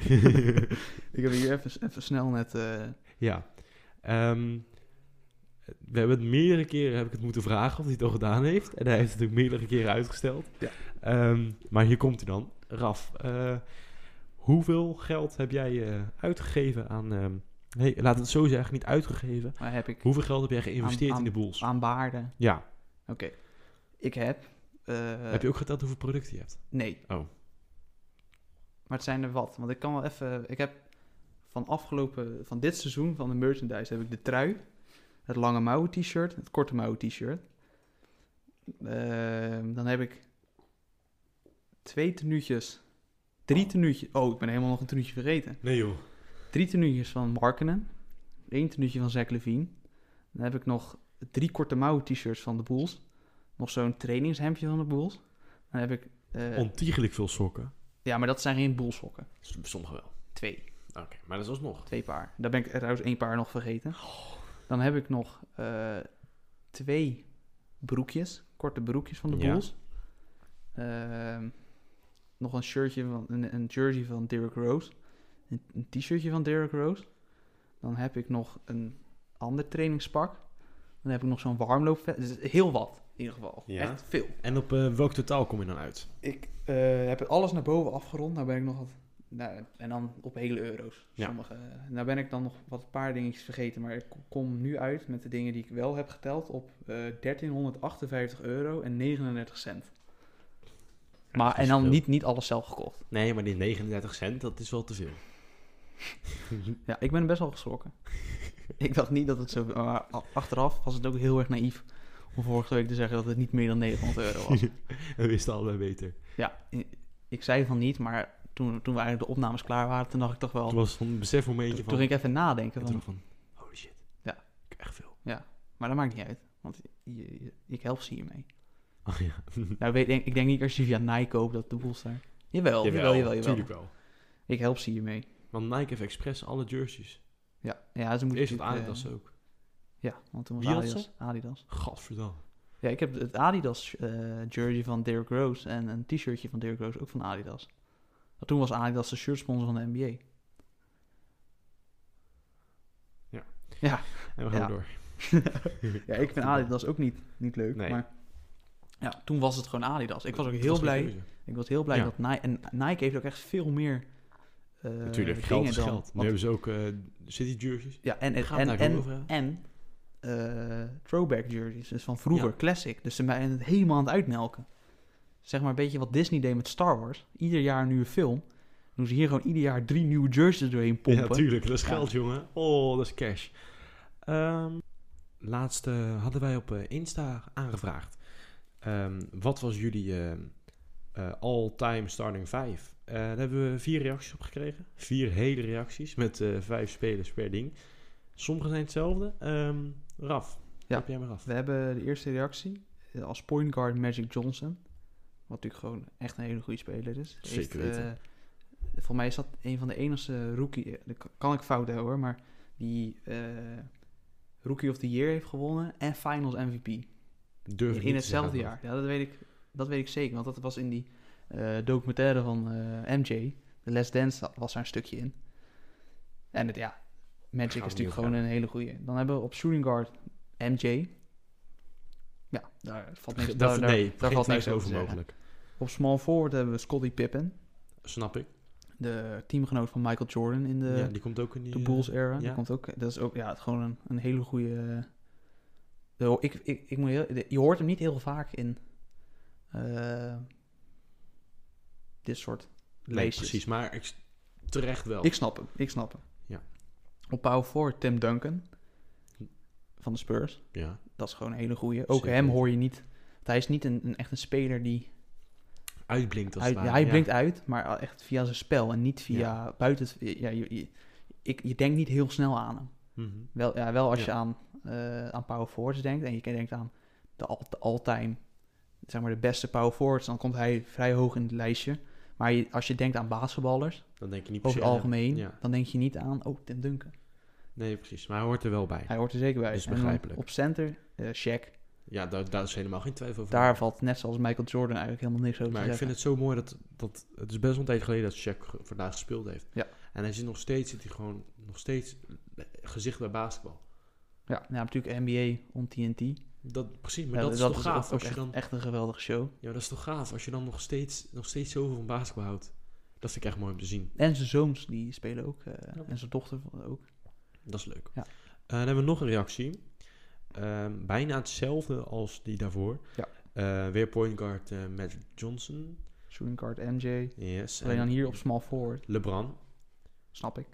Ik heb hier even, even snel net... eh, Ja. Ehm, we hebben het meerdere keren heb ik het moeten vragen of hij het al gedaan heeft. En hij heeft het natuurlijk meerdere keren uitgesteld. Ja. Ehm, maar hier komt hij dan. Raf, eh, hoeveel geld heb jij eh, uitgegeven aan... ehm, nee, laat het zo zeggen, eigenlijk niet uitgegeven. Maar heb ik Hoeveel geld heb jij geïnvesteerd Aan- in de boels? aan waarde? ja. Oké. Ik heb... eh, heb je ook geteld hoeveel producten je hebt? Nee. Oh. Maar het zijn er wat. Want ik kan wel even... Ik heb van afgelopen... Van dit seizoen van de merchandise heb ik de trui. Het lange mouwen t-shirt. Het korte mouwen t-shirt. Ehm, dan heb ik twee tenuutjes. Drie tenuutjes. Oh, ik ben helemaal nog een tenuutje vergeten. Nee joh. Drie tenuutjes van Markenen. Eén tenuutje van Zach Levine. Dan heb ik nog drie korte mouwen t-shirts van de Bulls. Nog zo'n trainingshemdje van de Bulls. Dan heb ik... eh, Ontiegelijk veel sokken. ja, maar dat zijn geen Bulls sokken. S- Sommige wel. Twee. Oké, maar dat is alsnog. Twee paar. Daar ben ik trouwens één paar nog vergeten. Dan heb ik nog eh, twee broekjes. Korte broekjes van de Ja. Bulls. Ehm, nog een shirtje van een, een jersey van Derrick Rose, een, een t-shirtje van Derrick Rose. Dan heb ik nog een ander trainingspak. Dan heb ik nog zo'n warmloopvest. Dus heel wat in ieder geval. Ja. Echt veel. En op eh, welk totaal kom je dan uit? Ik eh, heb alles naar boven afgerond. Nou ben ik nog wat. Nou, en dan op hele euro's. Ja. Sommige. eh, Nou ben ik dan nog wat paar dingetjes vergeten. Maar ik kom nu uit met de dingen die ik wel heb geteld op eh 1358 euro en 39 cent. Maar, dat is en dan veel. niet, niet alles zelf gekocht. Nee, maar die 39 cent, dat is wel te veel. Ja, ik ben best wel geschrokken. ik dacht niet dat het zo... Maar a- achteraf was het ook heel erg naïef om vorige week te zeggen dat het niet meer dan 900 euro was. We wisten allebei beter. ja, i- ik zei van niet, maar toen, toen we eigenlijk de opnames klaar waren, toen dacht ik toch wel... Toen was het een besef momentje Toen van... ging ik even nadenken. en Van, toen van, holy shit. Ja. Ik heb echt veel. maar dat maakt niet uit, want je- je- ik help ze hiermee. Oh ja. Nou, weet, denk, ik denk niet als je via Nike koopt, dat doelster. Jawel, jawel, jawel. jawel, Tuurlijk wel. Ik help ze hiermee. Want Nike heeft expres alle jerseys. Ja, ja ze moeten... Eerst het natuurlijk, Adidas eh, ook. Ja, want toen was Wie had ze? Adidas, Adidas. Gadverdamme. Ja, ik heb het Adidas eh, jersey van Derrick Rose en een t-shirtje van Derrick Rose ook van Adidas. Maar toen was Adidas de shirtsponsor van de NBA. En we gaan Ja. door. Ja, ik vind Adidas ook niet, niet leuk, Nee. maar ja, toen was het gewoon Adidas. Ik was ook heel Dat is mijn blij. eh, keuze. Ik was heel blij Ja. dat Nike en Nike heeft ook echt veel meer eh, Natuurlijk, dingen geld is dan- geld. Nu want- hebben ze ook eh, City jerseys. ja, en en Gaan we en, daar en, over hebben? en, eh, throwback jerseys, dus van vroeger, Ja. classic. Dus ze zijn het helemaal aan het uitmelken. Zeg maar een beetje wat Disney deed met Star Wars. Ieder jaar een nieuwe film. Doen ze hier gewoon ieder jaar drie nieuwe jerseys doorheen pompen. Ja, tuurlijk. Dat is Ja. geld, jongen. Oh, dat is cash. Ehm, laatste hadden wij op eh, Insta aangevraagd. Ehm, wat was jullie ehm, eh, all-time starting 5? daar hebben we vier reacties op gekregen. Vier hele reacties met eh, vijf spelers per ding. Sommige zijn hetzelfde. Ehm, Raf, Ja. heb jij maar af. We hebben de eerste reactie eh, als point guard Magic Johnson. Wat natuurlijk gewoon echt een hele goede speler is. Zeker weten. eh, voor mij is dat een van de enige rookie... eh, dat kan- kan ik fout hebben hoor, maar die eh, Rookie of the Year heeft gewonnen en Finals MVP. Durf ik in niet te hetzelfde zeggen, jaar. Ja, dat weet, ik, dat weet ik zeker, want dat was in die eh, documentaire van eh, MJ. The Last Dance da- was daar een stukje in. En het, ja, Gaan Magic is we natuurlijk niet gewoon een hele goede. Dan hebben we op shooting guard MJ. Ja, daar valt niks, Daar, daar, daar- nee, daar valt niks over over te zeggen. mogelijk. Op small forward hebben we Scottie Pippen. Snap ik. De teamgenoot van Michael Jordan in de, ja, die komt ook in die... eh, de Bulls era. Die ja. komt ook, dat is ook ja, het gewoon een, een hele goede. ik, ik, ik moet heel, de- je hoort hem niet heel vaak in eh, dit soort Nee, lijstjes. precies. Maar ik, terecht wel. Ik snap hem, ik snap hem. Ja. Op power forward Tim Duncan van de Spurs. ja. Dat is gewoon een hele goede. Ook Zeker hem weten. hoor je niet. want Hij is niet een, een, echt een speler die... Uitblinkt als Hij, het ware. hij ja. blinkt uit, maar echt via zijn spel en niet via buiten... Het, ja, je, je, ik, je denkt niet heel snel aan hem. Mhm. Wel, ja, wel als Ja. je aan, eh, aan power forwards denkt en je denkt aan de, al, de all-time, zeg maar de beste power forwards, dan komt hij vrij hoog in het lijstje. Maar je- als je denkt aan basketballers, Dan denk je niet per over se het aan algemeen, Ja. dan denk je niet aan, oh, Tim Duncan. hem. Nee, precies. Maar hij hoort er wel bij. Hij hoort er zeker bij. Is En dan begrijpelijk. op center, eh Shaq, Ja, daar, daar is helemaal geen twijfel over. daar valt net zoals Michael Jordan eigenlijk helemaal niks over maar te ik zeggen. vind het zo mooi dat, dat... Het is best wel een tijd geleden dat Shaq ge- vandaag gespeeld heeft. Ja. En hij zit nog steeds... Zit hij gewoon nog steeds eh, gezicht bij basketbal. Ja, nou, natuurlijk NBA on TNT. Dat, precies, maar Ja, dat, is toch gaaf ook als je echt, dan... echt een geweldige show. Ja, dat is toch gaaf als je dan nog steeds, nog steeds zoveel van basketbal houdt. Dat vind ik echt mooi om te zien. En zijn zoons, die spelen ook. eh, Ja. En zijn dochter ook. Dat is leuk. Ja. Eh, dan hebben we nog een reactie. Ehm, bijna hetzelfde als die daarvoor. Ja. Eh, weer point guard eh, Magic Johnson. Shooting guard MJ. Yes. Alleen en dan hier op small forward. LeBron. Snap ik.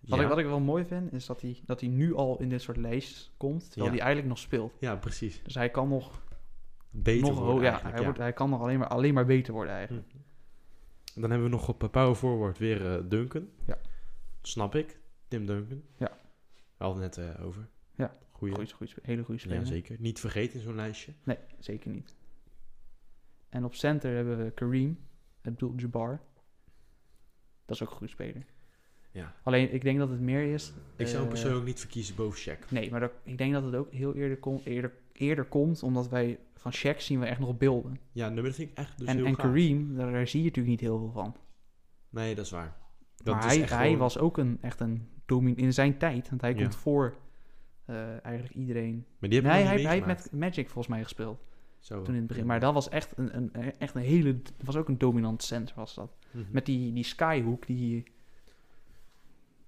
Wat, ja. ik, wat ik wel mooi vind, is dat hij, dat hij nu al in dit soort lijstjes komt, terwijl Ja. hij eigenlijk nog speelt. ja, precies. Dus hij kan nog, Beter nog worden ho- ja, eigenlijk, hij, ja. Wordt, hij kan nog alleen maar, alleen maar beter worden eigenlijk. Dan hebben we nog op eh, power forward weer eh, Duncan. Ja. Snap ik. Tim Duncan. Ja. We hadden het net eh, over. Ja. Goeie. Goeie, goeie spe- hele goede speler. Ja, zeker. Niet vergeten in zo'n lijstje. Nee, zeker niet. En op center hebben we Kareem, Abdul Jabbar. Dat is ook een goede speler. Ja. Alleen, ik denk dat het meer is... Ik zou eh, hem persoonlijk niet verkiezen boven Shaq. Nee, maar dat- ik denk dat het ook heel eerder, kon, eerder, eerder komt, omdat wij van Shaq zien we echt nog beelden. Ja, nummer dat vind ik echt dus en heel en gaaf. Kareem, daar, daar zie je natuurlijk niet heel veel van. Nee, dat is waar. Dat maar is hij, echt hij gewoon- was ook een, echt een domin in zijn tijd, want hij Ja. komt voor eh, eigenlijk iedereen. Maar die hebben nee, we nog hij, niet hij heeft meegemaakt. Oh, met Magic volgens mij gespeeld Zo. toen in het begin. Maar dat was echt een, een, echt een hele, was ook een dominant center was dat. Mhm. Met die, die skyhook, die,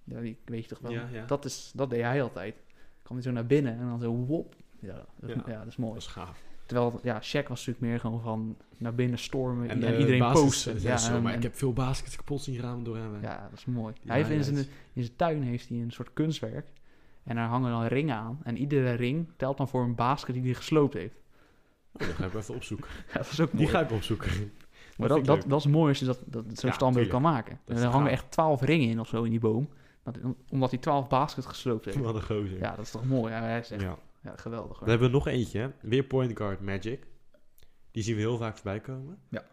ja, die weet je toch wel. Ja, ja. Dat, is, dat deed hij altijd. Kwam hij zo naar binnen en dan zo wop. Ja, dat, Ja. ja. dat is mooi. Dat is gaaf. Terwijl, ja, Shaq was natuurlijk meer gewoon van naar binnen stormen en, eh, iedereen baskets- posten. Ja, zo, en- maar ik en- heb veel baskets kapot zien ramen door hem. hè. ja, dat is mooi. Die hij heeft in zijn, highlights. in zijn tuin heeft hij een soort kunstwerk. En daar hangen dan ringen aan. En iedere ring telt dan voor een basket die hij gesloopt heeft. Oh, dat ga ik even opzoeken. Ja, dat is ook mooi. Die ga ik opzoeken. maar vind dat, ik dat, leuk. dat is mooi als je dat, dat zo'n Ja, standbeeld tuurlijk. kan maken. is En er hangen gaaf. echt twaalf ringen in of zo in die boom. Dat, omdat hij twaalf baskets gesloopt heeft. Wat een gozer. Ja, dat is toch mooi. Ja, hij is echt Ja. ja, geweldig. Dan Hoor. hebben we nog eentje. hè. Weer point guard Magic. Die zien we heel vaak voorbij komen. Ja.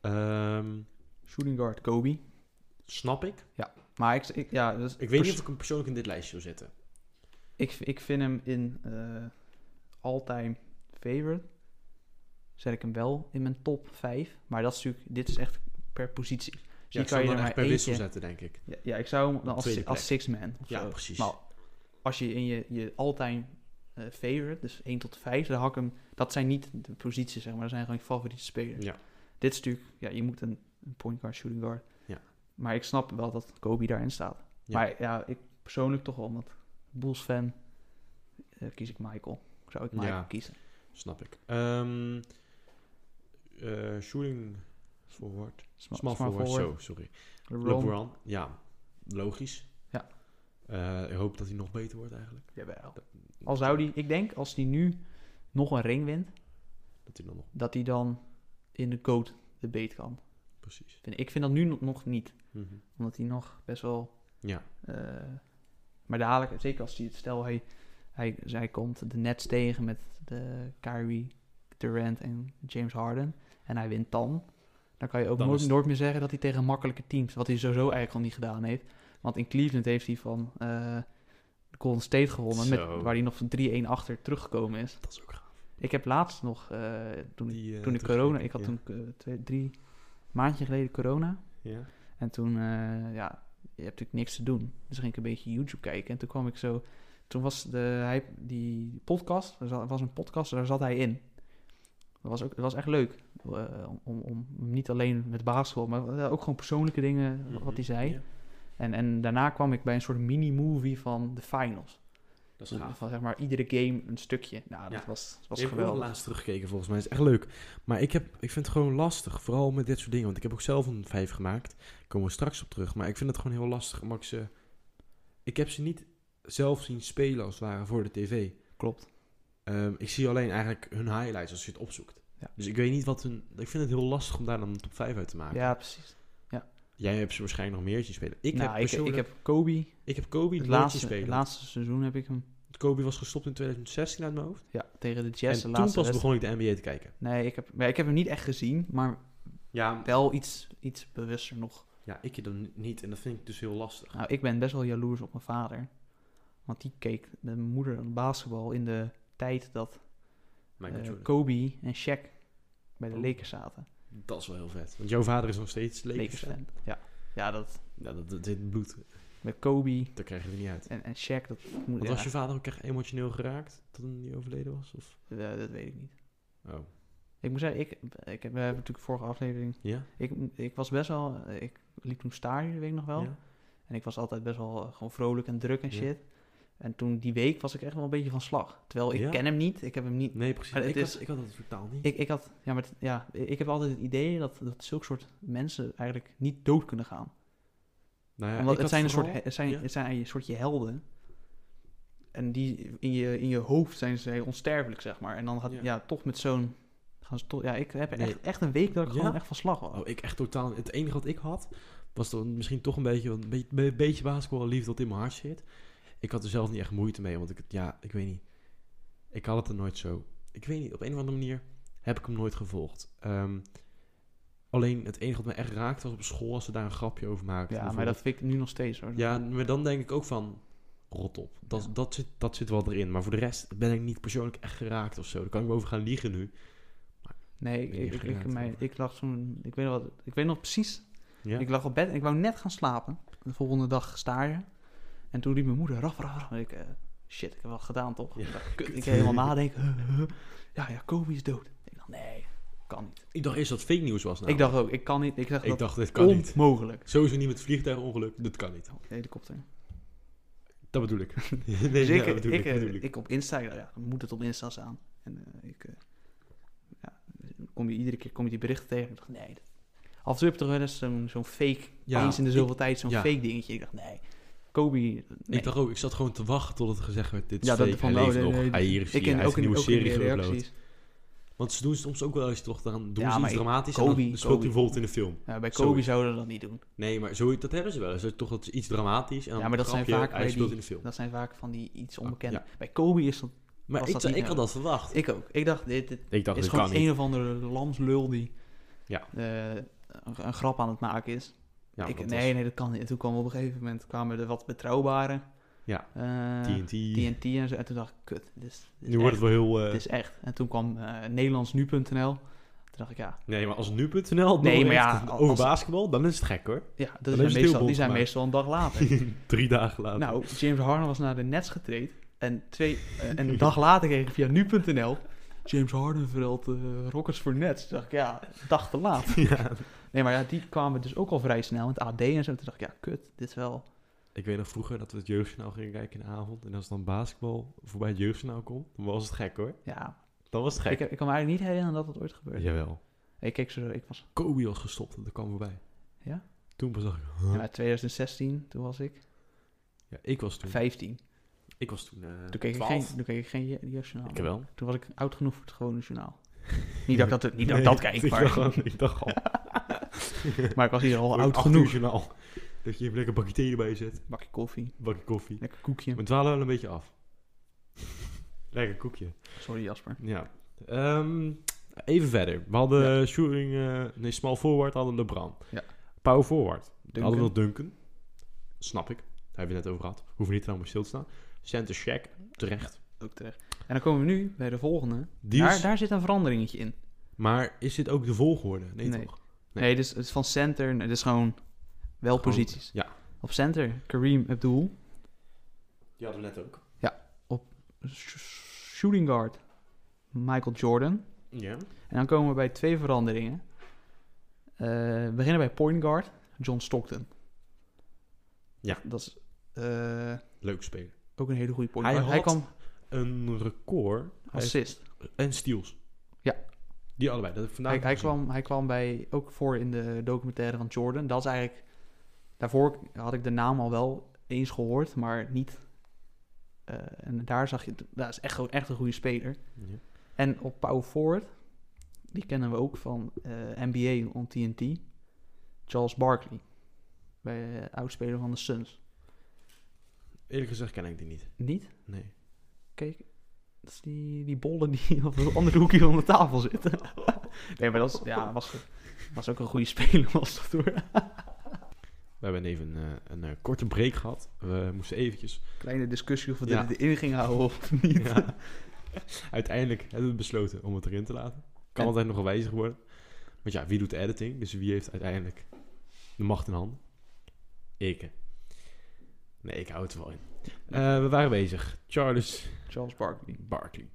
Ehm, Shooting guard Kobe. snap ik. Maar ik, ik, ja, dus Ik weet niet of ik hem persoonlijk in dit lijstje wil zetten. Ik, ik vind hem in eh all-time favorite. Zet ik hem wel in mijn top 5. Maar dat is natuurlijk, dit is echt per positie. Dus Ja, die ik kan zou je hem dan er maar echt per wissel eentje... zetten, denk ik. Ja, ja, ik zou hem dan Op als, tweede si- als six man of eh, nou. Ja, zo. precies. Maar als je in je, je all-time eh, favorite, dus 1 tot 5, dan hak ik hem... Dat zijn niet de posities, zeg maar. Dat zijn gewoon je favoriete spelers. Ja. Dit is natuurlijk, ja, je moet een, een point guard, shooting guard. Ja. Maar ik snap wel dat Kobe daarin staat. Ja. Maar ja, ik persoonlijk toch wel, omdat Bulls fan eh, kies ik Michael. Zou ik Michael Ja. kiezen? Snap ik. Ehm, eh, shooting forward. Sma- Small forward. Zo, sorry. LeBron. LeBron. Ja, logisch. Ja. Eh, ik hoop dat hij nog beter wordt eigenlijk. Jawel. Al zou die, ik denk, als hij nu nog een ring wint, Dat hij dan nog... dat hij dan in de goat de beet kan. Precies. Vind- Ik vind dat nu nog- nog niet, Mhm. omdat hij nog best wel... Ja. eh, maar dadelijk, zeker als hij het stel, hij, hij, zij komt de Nets tegen met de Kyrie, Durant en James Harden. En hij wint dan. Dan kan je ook Dan nooit, is- nooit meer zeggen dat hij tegen makkelijke teams, wat hij sowieso eigenlijk al niet gedaan heeft. Want in Cleveland heeft hij van eh Golden State gewonnen, met, Zo. waar hij nog van 3-1 achter teruggekomen is. Dat is ook gaaf. Ik heb laatst nog, eh, toen, ik- Die, eh, toen ik terugkijken, corona, ik had ja. toen eh, twee, drie maandje geleden corona. Ja. En toen, eh, ja, je hebt natuurlijk niks te doen. Dus ging ik een beetje YouTube kijken. En toen kwam ik zo... Toen was de, hij, die podcast, er za- was een podcast, daar zat hij in. Dat was, ook, dat was echt leuk. eh, om, om, om niet alleen met basketbal, maar eh, ook gewoon persoonlijke dingen, wat hij zei. Mhm, Ja. En, en daarna kwam ik bij een soort mini-movie van de finals. Dat is gaaf. Van zeg maar iedere game een stukje. Nou, dat Ja. was, Ik was heb wel geweldig. laatst teruggekeken volgens mij. is echt leuk. Maar ik, heb, ik vind het gewoon lastig. Vooral met dit soort dingen. Want ik heb ook zelf een vijf gemaakt. Daar komen we straks op terug. Maar ik vind het gewoon heel lastig. Omdat ik ze... Ik heb ze niet zelf zien spelen als het ware voor de tv. Klopt. Ehm, ik zie alleen eigenlijk hun highlights als je het opzoekt. Ja. Dus ik weet niet wat hun... Ik vind het heel lastig om daar dan een top 5 uit te maken. Ja, precies. Jij hebt ze waarschijnlijk nog meer zien spelen. Ik, Nou, heb, ik, ik persoonlijk- heb Kobe, ik heb Kobe het nooit zien laatste, spelen. het laatste seizoen heb ik hem Kobe was gestopt in 2016 uit mijn hoofd. Ja, tegen de Jazz. en de toen pas laatste wedstrijd. begon ik de NBA te kijken. Nee, ik heb, maar ik heb hem niet echt gezien, maar Ja, wel iets, iets bewuster nog. ja ik dan niet. En dat vind ik dus heel lastig. Nou, ik ben best wel jaloers op mijn vader. Want die keek de moeder aan basketbal in de tijd dat Michael eh, Jordan. Kobe en Shaq bij de Oh. Lakers zaten. Dat is wel heel vet. Want jouw vader is nog steeds Lakers, Lakers fan. fan. Ja, ja dat, Ja, dat, dat, dit bloed, met Kobe daar krijg je er niet uit. en, en Shaq, dat, moet, Want ja, was je vader ook echt emotioneel geraakt toen hij overleden was? Of? eh, dat weet ik niet. Oh. Ik moet zeggen, ik, ik heb, we hebben natuurlijk vorige aflevering... Ja? Ik, ik was best wel... eh, Ik liep toen stage, dat weet ik nog wel. Ja? En ik was altijd best wel eh, gewoon vrolijk en druk en Ja. shit. En toen die week was ik echt wel een beetje van slag. Terwijl ik Ja. ken hem niet, ik heb hem niet. Nee, precies. Maar het Ik, is- had, ik had dat totaal niet. Ik, ik had, ja, maar het- ja, i- ik heb altijd het idee dat, dat zulke soort mensen eigenlijk niet dood kunnen gaan. nou ja, Omdat ik het had zijn, een soort, vooral- he- het, zijn, ja. het zijn een soort je helden. En die in je, in je hoofd zijn ze onsterfelijk, zeg maar. En dan gaat, Ja. ja, toch met zo'n. Gaan ze toch, ja, ik heb Nee. echt, echt een week dat ik Ja? gewoon echt van slag was. Oh, ik echt totaal. Het enige wat ik had, was dan misschien toch een beetje, een beetje, een beetje basketbal liefde dat in mijn hart zit. Ik had er zelf niet echt moeite mee, want ik, het- ja, ik weet niet. Ik had het er nooit zo. Ik weet niet, op een of andere manier heb ik hem nooit gevolgd. Ehm, alleen het enige wat me echt raakte was op school als ze daar een grapje over maakten. ja, maar dat bijvoorbeeld. vind ik nu nog steeds hoor. Ja, maar dan denk ik ook van, rot op. Dat, Ja. dat, zit, dat zit wel erin. Maar voor de rest ben ik niet persoonlijk echt geraakt of zo. Daar kan ik me over gaan liegen nu. Nee, Ben je ik, ik, ik, geraakt mij, over? ik lag toen... Ik weet, nog wat, ik weet nog precies. Ja. Ik lag op bed en ik wou net gaan slapen. De volgende dag stage. En toen riep mijn moeder... Raf, raf, raf. En ik... eh, shit, ik heb wat gedaan, toch? Ja, Ik dacht, kut, ik ging helemaal nadenken. Ja, ja, Kobe is dood. Ik dacht, nee, kan niet. Ik dacht eerst dat het fake nieuws was. Ik namelijk. dacht ook, ik kan niet. Ik Nou. dacht, ik dat dacht dit kan niet. onmogelijk. Sowieso niet met vliegtuigongeluk. Dat kan niet. Helikopter. Dat bedoel ik. nee, Dus ja, ik, dat eh, bedoel ik, ik, eh, bedoel ik. ik op Insta, ik dacht, ja, dan moet het op Insta staan. En eh, ik, eh, ja, kom je, iedere keer kom je die berichten tegen. Ik dacht, nee. dat- Af en toe heb je toch wel eens zo'n zo'n fake, Ja, eens in de ik- zoveel tijd, zo'n ja. fake dingetje. Ik dacht, nee. Kobe, nee. Ik dacht ook, ik zat gewoon te wachten tot het gezegd werd, dit is Ja, dat fake, van, hij oh, leeft nee, nog, nee, hij hier is ik hij, hij heeft een nieuwe ook in de serie geüpload. reacties. Want ze doen soms ook wel eens toch, dan doen Ja, ze maar iets ik- dramatisch en Kobe- dan speelt hij Kobe. bijvoorbeeld in de film. Ja, bij Kobe Sorry. zouden we dat niet doen. Nee, maar zo, dat hebben ze wel eens, dat is toch dat is iets dramatisch en dan Ja, maar dat grapje, zijn vaak hij bij speelt die- in de film. Dat zijn vaak van die iets Ah, onbekende. ja. Bij Kobe is dat... Maar was ik, dat zat- niet ik had dat verwacht. Ik ook. Ik dacht, dit, dit Ik dacht, is dit gewoon Oh, kan een niet. of andere lamslul die Ja. eh, een, een grap aan het maken is. Ja, ik, dat nee, nee, dat kan niet. En toen kwam op een gegeven moment kwamen er wat betrouwbare. Ja, eh, was TNT. TNT en zo. En toen dacht ik, kut, dit is, dit is Nu wordt echt. het wel heel... eh, Dit is echt. En toen kwam eh, nederlandsnu.nl. Toen dacht ik, ja, Nee, maar als nu.nl nog Nee, maar echt ja, als- over basketbal, dan is het gek hoor. is ja dat zijn het heel meestal, bond die zijn gemaakt. meestal een dag later. Drie dagen later. nou, James Harden was naar de Nets getraind. En, twee, eh, en een dag later kreeg ik via nu.nl... James Harden verhaalt Rockets voor Nets. Toen dacht ik, ja, een dag te laat. ja. Nee, maar ja, die kwamen dus ook al vrij snel. Met AD en zo. Toen dacht ik, ja, kut, dit is wel... Ik weet nog vroeger dat we het jeugdjournaal gingen kijken in de avond. En als dan basketbal voorbij het jeugdjournaal komt, dan was het gek hoor. Ja, Dan was het ik, gek. ik kan me eigenlijk niet herinneren dat het ooit gebeurde. Jawel. Ik keek zo, ik was... Kobe was gestopt en dat kwam voorbij. Ja? Toen pas dacht ik... huh? Ja, maar 2016, toen was ik Ja, ik was toen... 15. Ik was toen... eh Toen keek, ik 12. geen, toen keek ik geen je- jeugdjournaal. Ik wel. Toen was ik oud genoeg voor het gewone journaal. Niet dat ik dat, niet dat, ik dat kijk, ik dacht, maar, gewoon- ik dacht al... maar ik was hier al Voor oud een acht uur genoeg. journaal. Dat je even lekker een bakje thee erbij zet. Bakje koffie, Bakje koffie. lekker koekje. We dwalen wel een beetje af. lekker koekje. Sorry Jasper. Ja. Ehm, even verder. We hadden shooting, eh, nee, small forward hadden we LeBron. Ja. Power forward hadden we Duncan. nog Duncan. Snap ik. Daar hebben we het net over gehad. Hoeven niet lang bij stil te staan. Center Shaq, terecht. Ook terecht. En dan komen we nu bij de volgende. Die Daar, is- daar zit een veranderingetje in. Maar is dit ook de volgorde? Nee, Nee. toch? Nee. Nee, dus het is van center, nee, het is gewoon wel Gewoon- posities. ja. Op center, Kareem Abdul. Die hadden we net ook. Sh- Shooting guard, Michael Jordan. Ja. En dan komen we bij twee veranderingen. Eh, we beginnen bij point guard, John Stockton. Ja. Dat is eh, Leuk speler. ook een hele goede point Hij guard. Hij had- kwam Een record. Hij is- assist. En steals. Ja. Die allebei. Dat heb ik vandaag Hij, hij, gezien. kwam, hij kwam bij, ook voor in de documentaire van Jordan. Dat is eigenlijk... Daarvoor had ik de naam al wel eens gehoord, maar niet... eh, en daar zag je... Dat is echt, gewoon echt een goede speler. Ja. En op Power Forward, die kennen we ook van eh, NBA on TNT. Charles Barkley. Bij eh, oudspeler van de Suns. Eerlijk gezegd ken ik die niet. Niet? Nee. Kijk, dat is die, die bollen die op het andere hoekje van de tafel zitten. nee, maar dat is, ja, was, was ook een goede speler, was dat hoor. We hebben even eh, een eh, korte break gehad. We moesten eventjes Kleine discussie of we Ja. dit erin gingen houden of niet. Ja. Uiteindelijk hebben we besloten om het erin te laten. Kan En- altijd nog gewijzigd worden. Want ja, wie doet de editing? Dus wie heeft uiteindelijk de macht in handen? Ik. hè. Nee, ik hou het wel in. Eh, we waren bezig. Charles Charles Barkley. Barkley.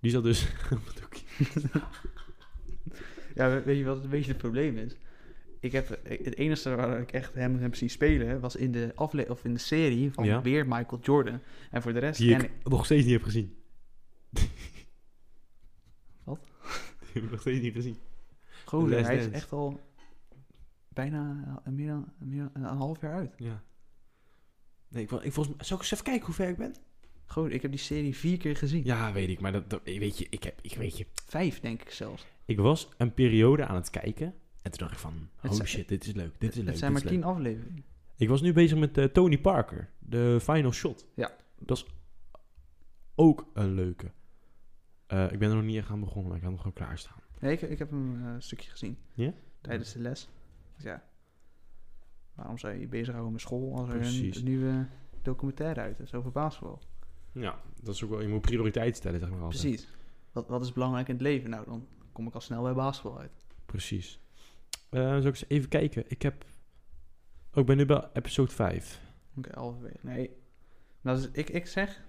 Die zat dus op het hoekje. Ja, we- weet je wat het een beetje het probleem is? Ik heb, het enige waar ik echt hem heb zien spelen was in de, afle- of in de serie van Ja. weer Michael Jordan. En voor de rest... Die ken ik nog steeds niet heb gezien. Wat? Die heb ik nog steeds niet gezien. The Gozer, Last hij is Dance. echt al bijna eh, meer dan, meer dan een half jaar uit. Ja. Nee, ik, wil- ik volgens mij... Zal ik eens even kijken hoe ver ik ben? Gozer, ik heb die serie vier keer gezien. Ja, weet ik. Maar dat, dat- weet je, ik heb... Ik weet je, Vijf, denk ik zelfs. Ik was een periode aan het kijken. En toen dacht ik van, Het oh zijn- shit, dit is leuk, dit is leuk. het zijn dit maar is tien leuk. afleveringen. Ik was nu bezig met eh, Tony Parker, de final shot. Ja. Dat is ook een leuke. Eh, ik ben er nog niet echt aan begonnen, maar ik had hem gewoon klaarstaan. Nee, ik, ik heb een eh, stukje gezien. Ja? Tijdens de les. Dus ja. Waarom zou je je bezighouden met school als er een- Precies. een nieuwe... documentaire uit. Dat is over basketbal. Ja, dat is ook wel, je moet prioriteit stellen, zeg maar altijd. Precies. Wat, wat is belangrijk in het leven? Nou, dan kom ik al snel bij basketbal uit. Precies. Eh zal ik eens even kijken? Ik heb... Oh, ik ben nu bij episode 5. Oké, halverwege. Nee. Nou, dus ik, ik zeg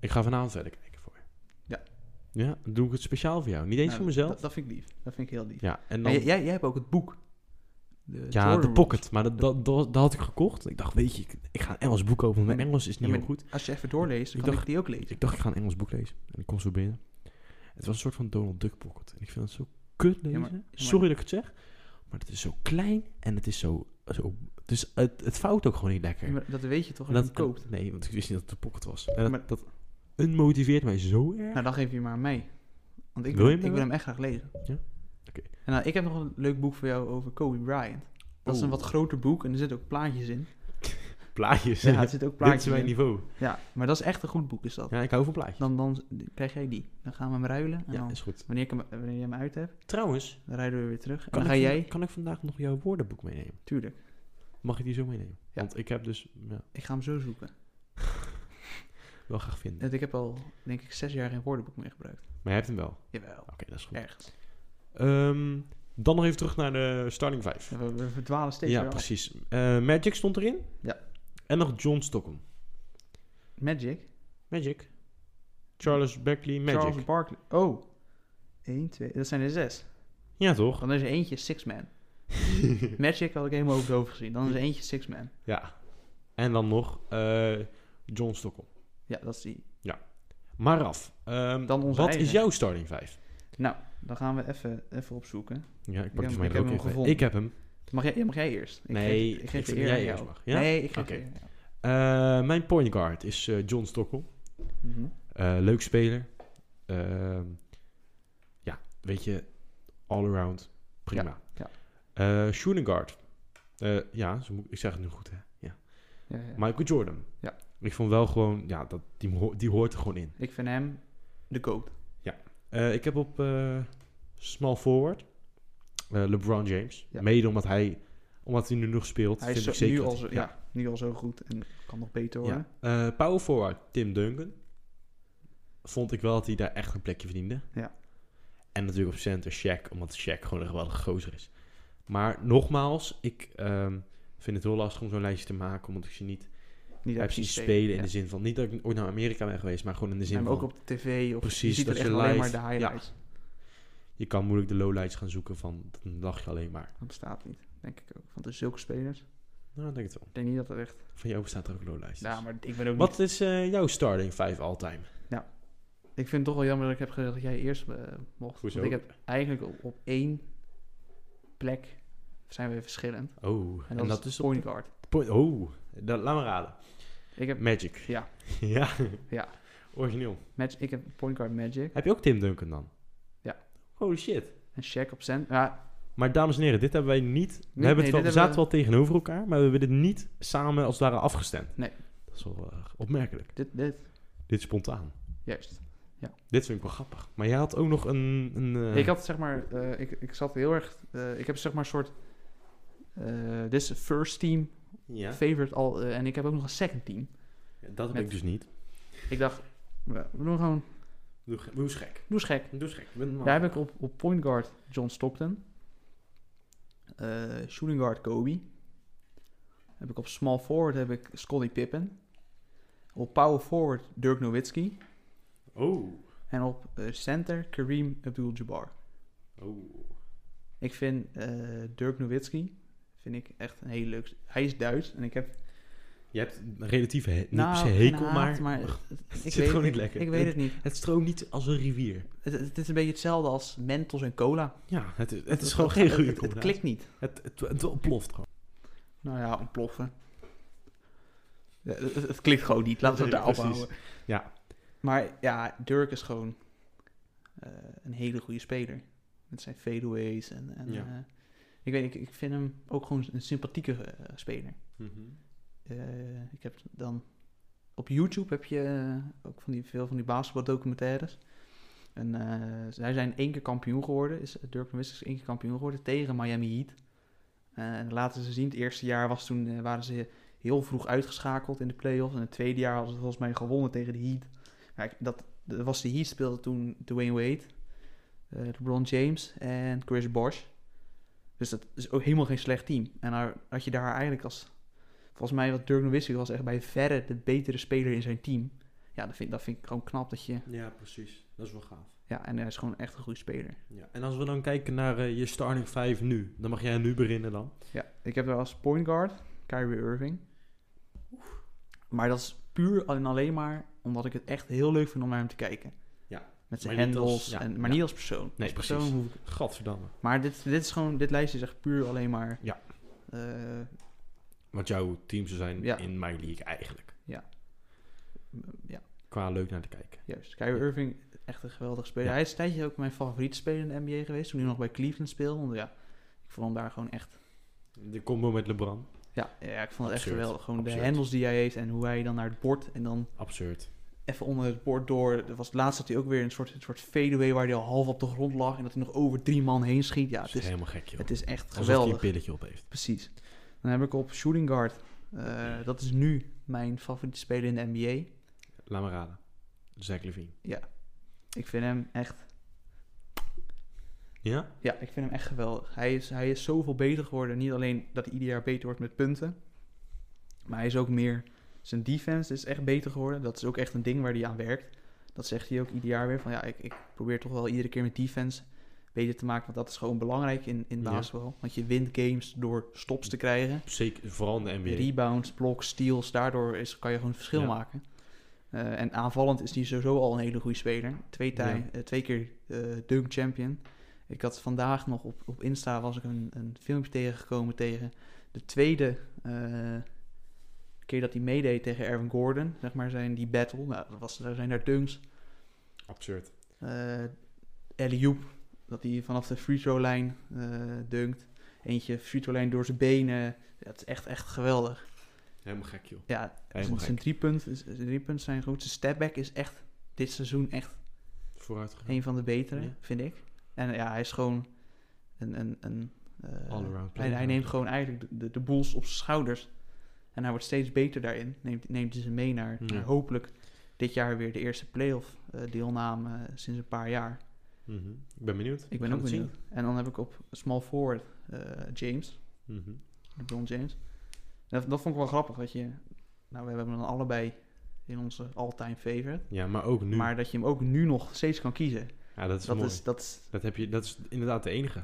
Ik ga vanavond verder kijken voor je. Ja. Ja, dan doe ik het speciaal voor jou. Niet eens Nou, voor mezelf. Dat, dat vind ik lief. Dat vind ik heel lief. Ja, en Maar dan... jij, jij, jij hebt ook het boek. De Jordan Ja, de Rules. pocket. Maar dat, dat, dat, dat had ik gekocht. Ik dacht, weet je, ik, ik ga een Engels boek kopen, want mijn Engels is niet Ja, heel maar goed. Als je even doorleest, dan Ik kan dacht- ik die ook lezen. Ik dacht, ik ga een Engels boek lezen. En ik kom zo binnen. Het was een soort van Donald Duck pocket. En ik vind het zo kut lezen. maar- ja, maar- Sorry dat ik het zeg. Maar het is zo klein en het is zo... zo dus het, het fout ook gewoon niet lekker. Ja, maar dat weet je toch En als je dat het koopt. Nee, want ik wist niet dat het de pocket was. En dat, Maar- dat unmotiveert mij zo erg. Nou, dan geef je hem maar aan mij. Want ik Wil wil, je hem ik hebben? wil hem echt graag lezen. Ja? Oké. En nou, ik heb nog een leuk boek voor jou over Kobe Bryant. Dat is een Oeh. wat groter boek en er zitten ook plaatjes in. Plaatjes. Ja, er zitten ook Dit plaatjes is mijn in. niveau. Ja, maar dat is echt een goed boek, is dat. Ja, ik hou van plaatjes. Dan, dan krijg jij die. Dan gaan we hem ruilen. En ja, dan, is goed. wanneer, ik hem, wanneer je hem uit hebt, Trouwens, dan rijden we weer terug. En kan, dan ik, ga van- jij... kan ik vandaag nog jouw woordenboek meenemen? Tuurlijk. Mag ik die zo meenemen? Want ik heb dus ja, Ik ga hem zo zoeken. wel graag vinden. Want ik heb al, denk ik, zes jaar geen woordenboek meer gebruikt. Maar je hebt hem wel. Oké, Jawel. dat is goed. Ergens. Ehm, dan nog even terug naar de starting 5. We, we verdwalen steeds Ja, weer af. precies. Eh, Magic stond erin. Ja. En nog John Stockholm. Magic. Magic. Charles Beckley Magic. Charles Barkley. Oh. 1, 2. Dat zijn er zes. Ja, toch? Dan is er eentje Six Man. Magic had ik helemaal over het hoofd gezien. Dan is er eentje Six Man. Ja. En dan nog eh, John Stockholm. Ja, dat is die. Maar af. Ehm, Dan onze wat eigen. is jouw starting 5? Nou, dan gaan we even, even opzoeken. Ja, ik heb pak dus hem- mijn ik heb ook hem even. gevonden. Ik heb hem. Mag jij, ja, mag jij eerst? Ik Nee, geef, ik ik geef vind de eer dat aan jij jou. eerst mag. Ja? Nee, ik geef Oké. de eer aan jou. Eh, mijn point guard is eh, John Stockholm. Mhm. Eh, leuk speler. Ehm, ja, weet je, all around. Prima. ja. Eh, shooting guard. Eh, ja, zo moet, ik zeg het nu goed, hè? Ja. Ja, ja. Michael Jordan. Ja. Ik vond wel gewoon, ja, dat, die, mo- die hoort er gewoon in. Ik vind hem de goat. Eh, ik heb op eh, small forward eh, LeBron James. Ja. Mede omdat hij, omdat hij nu nog speelt, Hij is vind ik zo- zeker. nu dat- al, zo, ja. nu al zo goed en kan nog beter worden. Ja. Eh, power forward Tim Duncan. Vond ik wel dat hij daar echt een plekje verdiende. Ja. En natuurlijk op center Shaq, omdat Shaq gewoon een geweldige gozer is. Maar nogmaals, ik ehm, vind het heel lastig om zo'n lijstje te maken, omdat ik ze niet Niet heb uit zien zien spelen. In ja. de zin van, niet dat ik ooit naar Amerika ben geweest, maar gewoon in de zin Maar van, ook op de tv. Of Precies, je ziet dat er echt je alleen maar live- de highlights. je kan moeilijk de lowlights gaan zoeken van, dan lach je alleen maar. Dat bestaat niet, denk ik ook. Want er zulke spelers. Nou, ik denk het wel. Ik denk niet dat dat echt... Van jou bestaat er ook lowlights. Ja, maar ik ben ook Wat is eh, jouw starting 5 all-time? niet... Ik vind het toch wel jammer dat ik heb gezegd dat jij eerst eh, mocht. Hoezo? Want ik heb eigenlijk op, op één plek zijn we verschillend. Oh, En dat, is, op- point guard. point- Oh, dat, laat me raden. Ik heb, Magic. Ja. ja. Ja. Origineel. match, ik heb point guard Magic Heb je ook Tim Duncan dan? Ja. Holy shit. en Shaq op cent. Ja, Maar dames en heren, dit hebben wij niet... We, Nee, hebben het wel, nee, dit we zaten hebben wel tegenover elkaar, maar we hebben dit niet samen als het ware afgestemd. Nee. Dat is wel eh, opmerkelijk. dit, dit. Dit is spontaan. Juist. Dit vind ik wel grappig. Maar jij had ook nog een... een eh, Ik had zeg maar... eh, ik, ik zat heel erg... eh, ik heb zeg maar een soort... eh, Dit is een first team Ja, favorite al. eh, en ik heb ook nog een second team. dat heb Met- ik dus niet. Ik dacht, we we doen gewoon... Doe, ge- doe eens gek. Doe eens gek. Doe eens gek. Ik ben een man. Daar heb ik op, op point guard John Stockton. Eh, shooting guard Kobe. Heb ik op small forward heb ik Scottie Pippen. Op power forward Dirk Nowitzki. Oh. En op eh, center Kareem Abdul-Jabbar. Oh. Ik vind eh, Dirk Nowitzki vind ik echt een hele leuk... Hij is Duits en ik heb... Je hebt een relatief he- niet per se Nou, geen hekel, haat, maar... het zit gewoon niet lekker. Ik weet het niet. Het stroomt niet als een rivier. Het, het is een beetje hetzelfde als Mentos en cola. Ja, het, is- het is gewoon geen Het- goede het- het combinatie. klikt niet. Het, het, het ontploft gewoon. Nou ja, ontploffen. Ja, het, het- het klikt gewoon niet, laten we het Nee, daarop precies. houden. Ja. Maar ja, Dirk is gewoon eh, een hele goede speler. Met zijn fadeaways en... en Ja. eh, ik weet ik, ik vind hem ook gewoon een sympathieke eh, speler. Mhm. Eh, ik heb dan... Op YouTube heb je eh, ook van die, veel van die basketbaldocumentaires. En eh zij zijn één keer kampioen geworden. Is, Dirk Nowitzki is één keer kampioen geworden tegen Miami Heat. Eh, en laten ze zien, het eerste jaar was toen, eh, waren ze heel vroeg uitgeschakeld in de play-offs. En het tweede jaar hadden ze volgens mij gewonnen tegen de Heat. Ja, ik- dat, dat was de Heat speelde toen Dwayne Wade, eh, LeBron James en Chris Bosh. Dus dat is ook helemaal geen slecht team. En daar had je daar eigenlijk als... Volgens mij was Dirk Nowitzki was echt bij verre de betere speler in zijn team. Ja, dat vind, dat vind ik gewoon knap dat je... Ja, precies. Dat is wel gaaf. Ja, en hij is gewoon echt een goede speler. Ja. En als we dan kijken naar eh, je starting 5 nu, dan mag jij nu beginnen dan. Ja, ik heb daar als point guard Kyrie Irving. Maar dat is puur en alleen maar omdat ik het echt heel leuk vind om naar hem te kijken. Ja. Met zijn Maar niet als- handles, ja, en, maar ja. niet als persoon. Nee, als persoon precies. hoef ik- Gadverdamme. Maar dit, dit, is gewoon, dit lijstje is echt puur alleen maar... Ja. eh, Want jouw teams zijn Ja. in mijn league eigenlijk. ja, Qua leuk naar te kijken. juist. Kyrie Ja. Irving, echt een geweldig speler. Ja. Hij is een tijdje ook mijn favoriete speler in de NBA geweest. Toen hij nog bij Cleveland speelde. Want ja, ik vond hem daar gewoon echt... De combo met LeBron. Ja, ja ik vond het echt Absurd. geweldig. Gewoon de Absurd. handles die hij heeft en hoe hij dan naar het bord en dan... Absurd. even onder het bord door. Er was laatst dat hij ook weer een soort, een soort fadeaway waar hij al half op de grond lag. En dat hij nog over drie man heen schiet. Ja, dat is, het is, helemaal gek, joh. het is echt Alsof hij een geweldig. pilletje op heeft. Precies. Dan heb ik op shooting guard. Eh, dat is nu mijn favoriete speler in de NBA. Laat maar raden. Zach Levine. Ik vind hem echt, Ja? ja, ik vind hem echt geweldig. Hij is, hij is zoveel beter geworden. Niet alleen dat hij ieder jaar beter wordt met punten. Maar hij is ook meer... Zijn defense is echt beter geworden. Dat is ook echt een ding waar hij aan werkt. Dat zegt hij ook ieder jaar weer. Van ja, ik, ik probeer toch wel iedere keer met defense beter te maken. Want dat is gewoon belangrijk in, in Ja. basketbal. Want je wint games door stops te krijgen. Zeker, vooral in de NBA. Rebounds, blocks, steals. Daardoor is, kan je gewoon verschil Ja. maken. Eh, en aanvallend is hij sowieso al een hele goede speler. Twee, tij, eh, twee keer eh, dunk champion. Ik had vandaag nog op, op Insta was ik een, een filmpje tegengekomen tegen de tweede eh, keer dat hij meedeed tegen Erwin Gordon. Zeg maar zijn die battle. Nou, dat was, daar zijn daar dunks. Absurd. Eh Elioup, dat hij vanaf de free throw lijn eh, dunkt. Eentje free throw lijn door zijn benen. Ja, het is echt, echt geweldig. Helemaal gek, joh. Ja, Helemaal zijn, zijn gek. drie punten drie punten zijn goed. Zijn stepback is echt dit seizoen echt Vooruit gegaan. een van de betere, Ja. vind ik. En eh, ja, hij is gewoon een... een, een eh, All-around hij, player. hij neemt gewoon eigenlijk de, de, de boels op zijn schouders. En hij wordt steeds beter daarin. Neemt, neemt hij ze mee naar, Ja. naar hopelijk dit jaar weer de eerste playoff eh, deelname eh, sinds een paar jaar. Mhm. Ik ben benieuwd. Ik We ben gaan ook het zien. benieuwd. En dan heb ik op small forward eh, James. Mhm. LeBron James. Dat, dat vond ik wel grappig, dat je... Nou, we hebben hem dan allebei in onze all-time favorite. Ja, maar ook nu. Maar dat je hem ook nu nog steeds kan kiezen. ja, dat is dat mooi. is... Dat is Dat, heb je, dat is inderdaad de enige.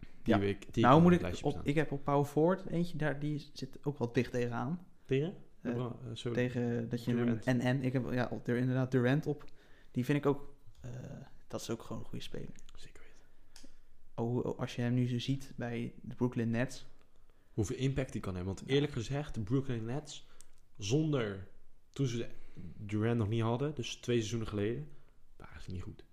Die Ja. we, ik, die nou, op moet het ik... lijstje Op, heb ik heb op Power Forward eentje, daar, die zit ook wel dicht tegenaan. staan. Tegen? Eh, LeBron, eh, sorry. tegen dat je... Durant. En, en, ik heb ja, op, Dur- inderdaad Durant op. Die vind ik ook... eh, dat is ook gewoon een goede speler. Zeker weten. Oh, oh, als je hem nu zo ziet bij de Brooklyn Nets. Hoeveel impact die kan hebben. Want eerlijk gezegd, de Brooklyn Nets, zonder... Toen ze Durant nog niet hadden, dus twee seizoenen geleden, waren ze niet goed.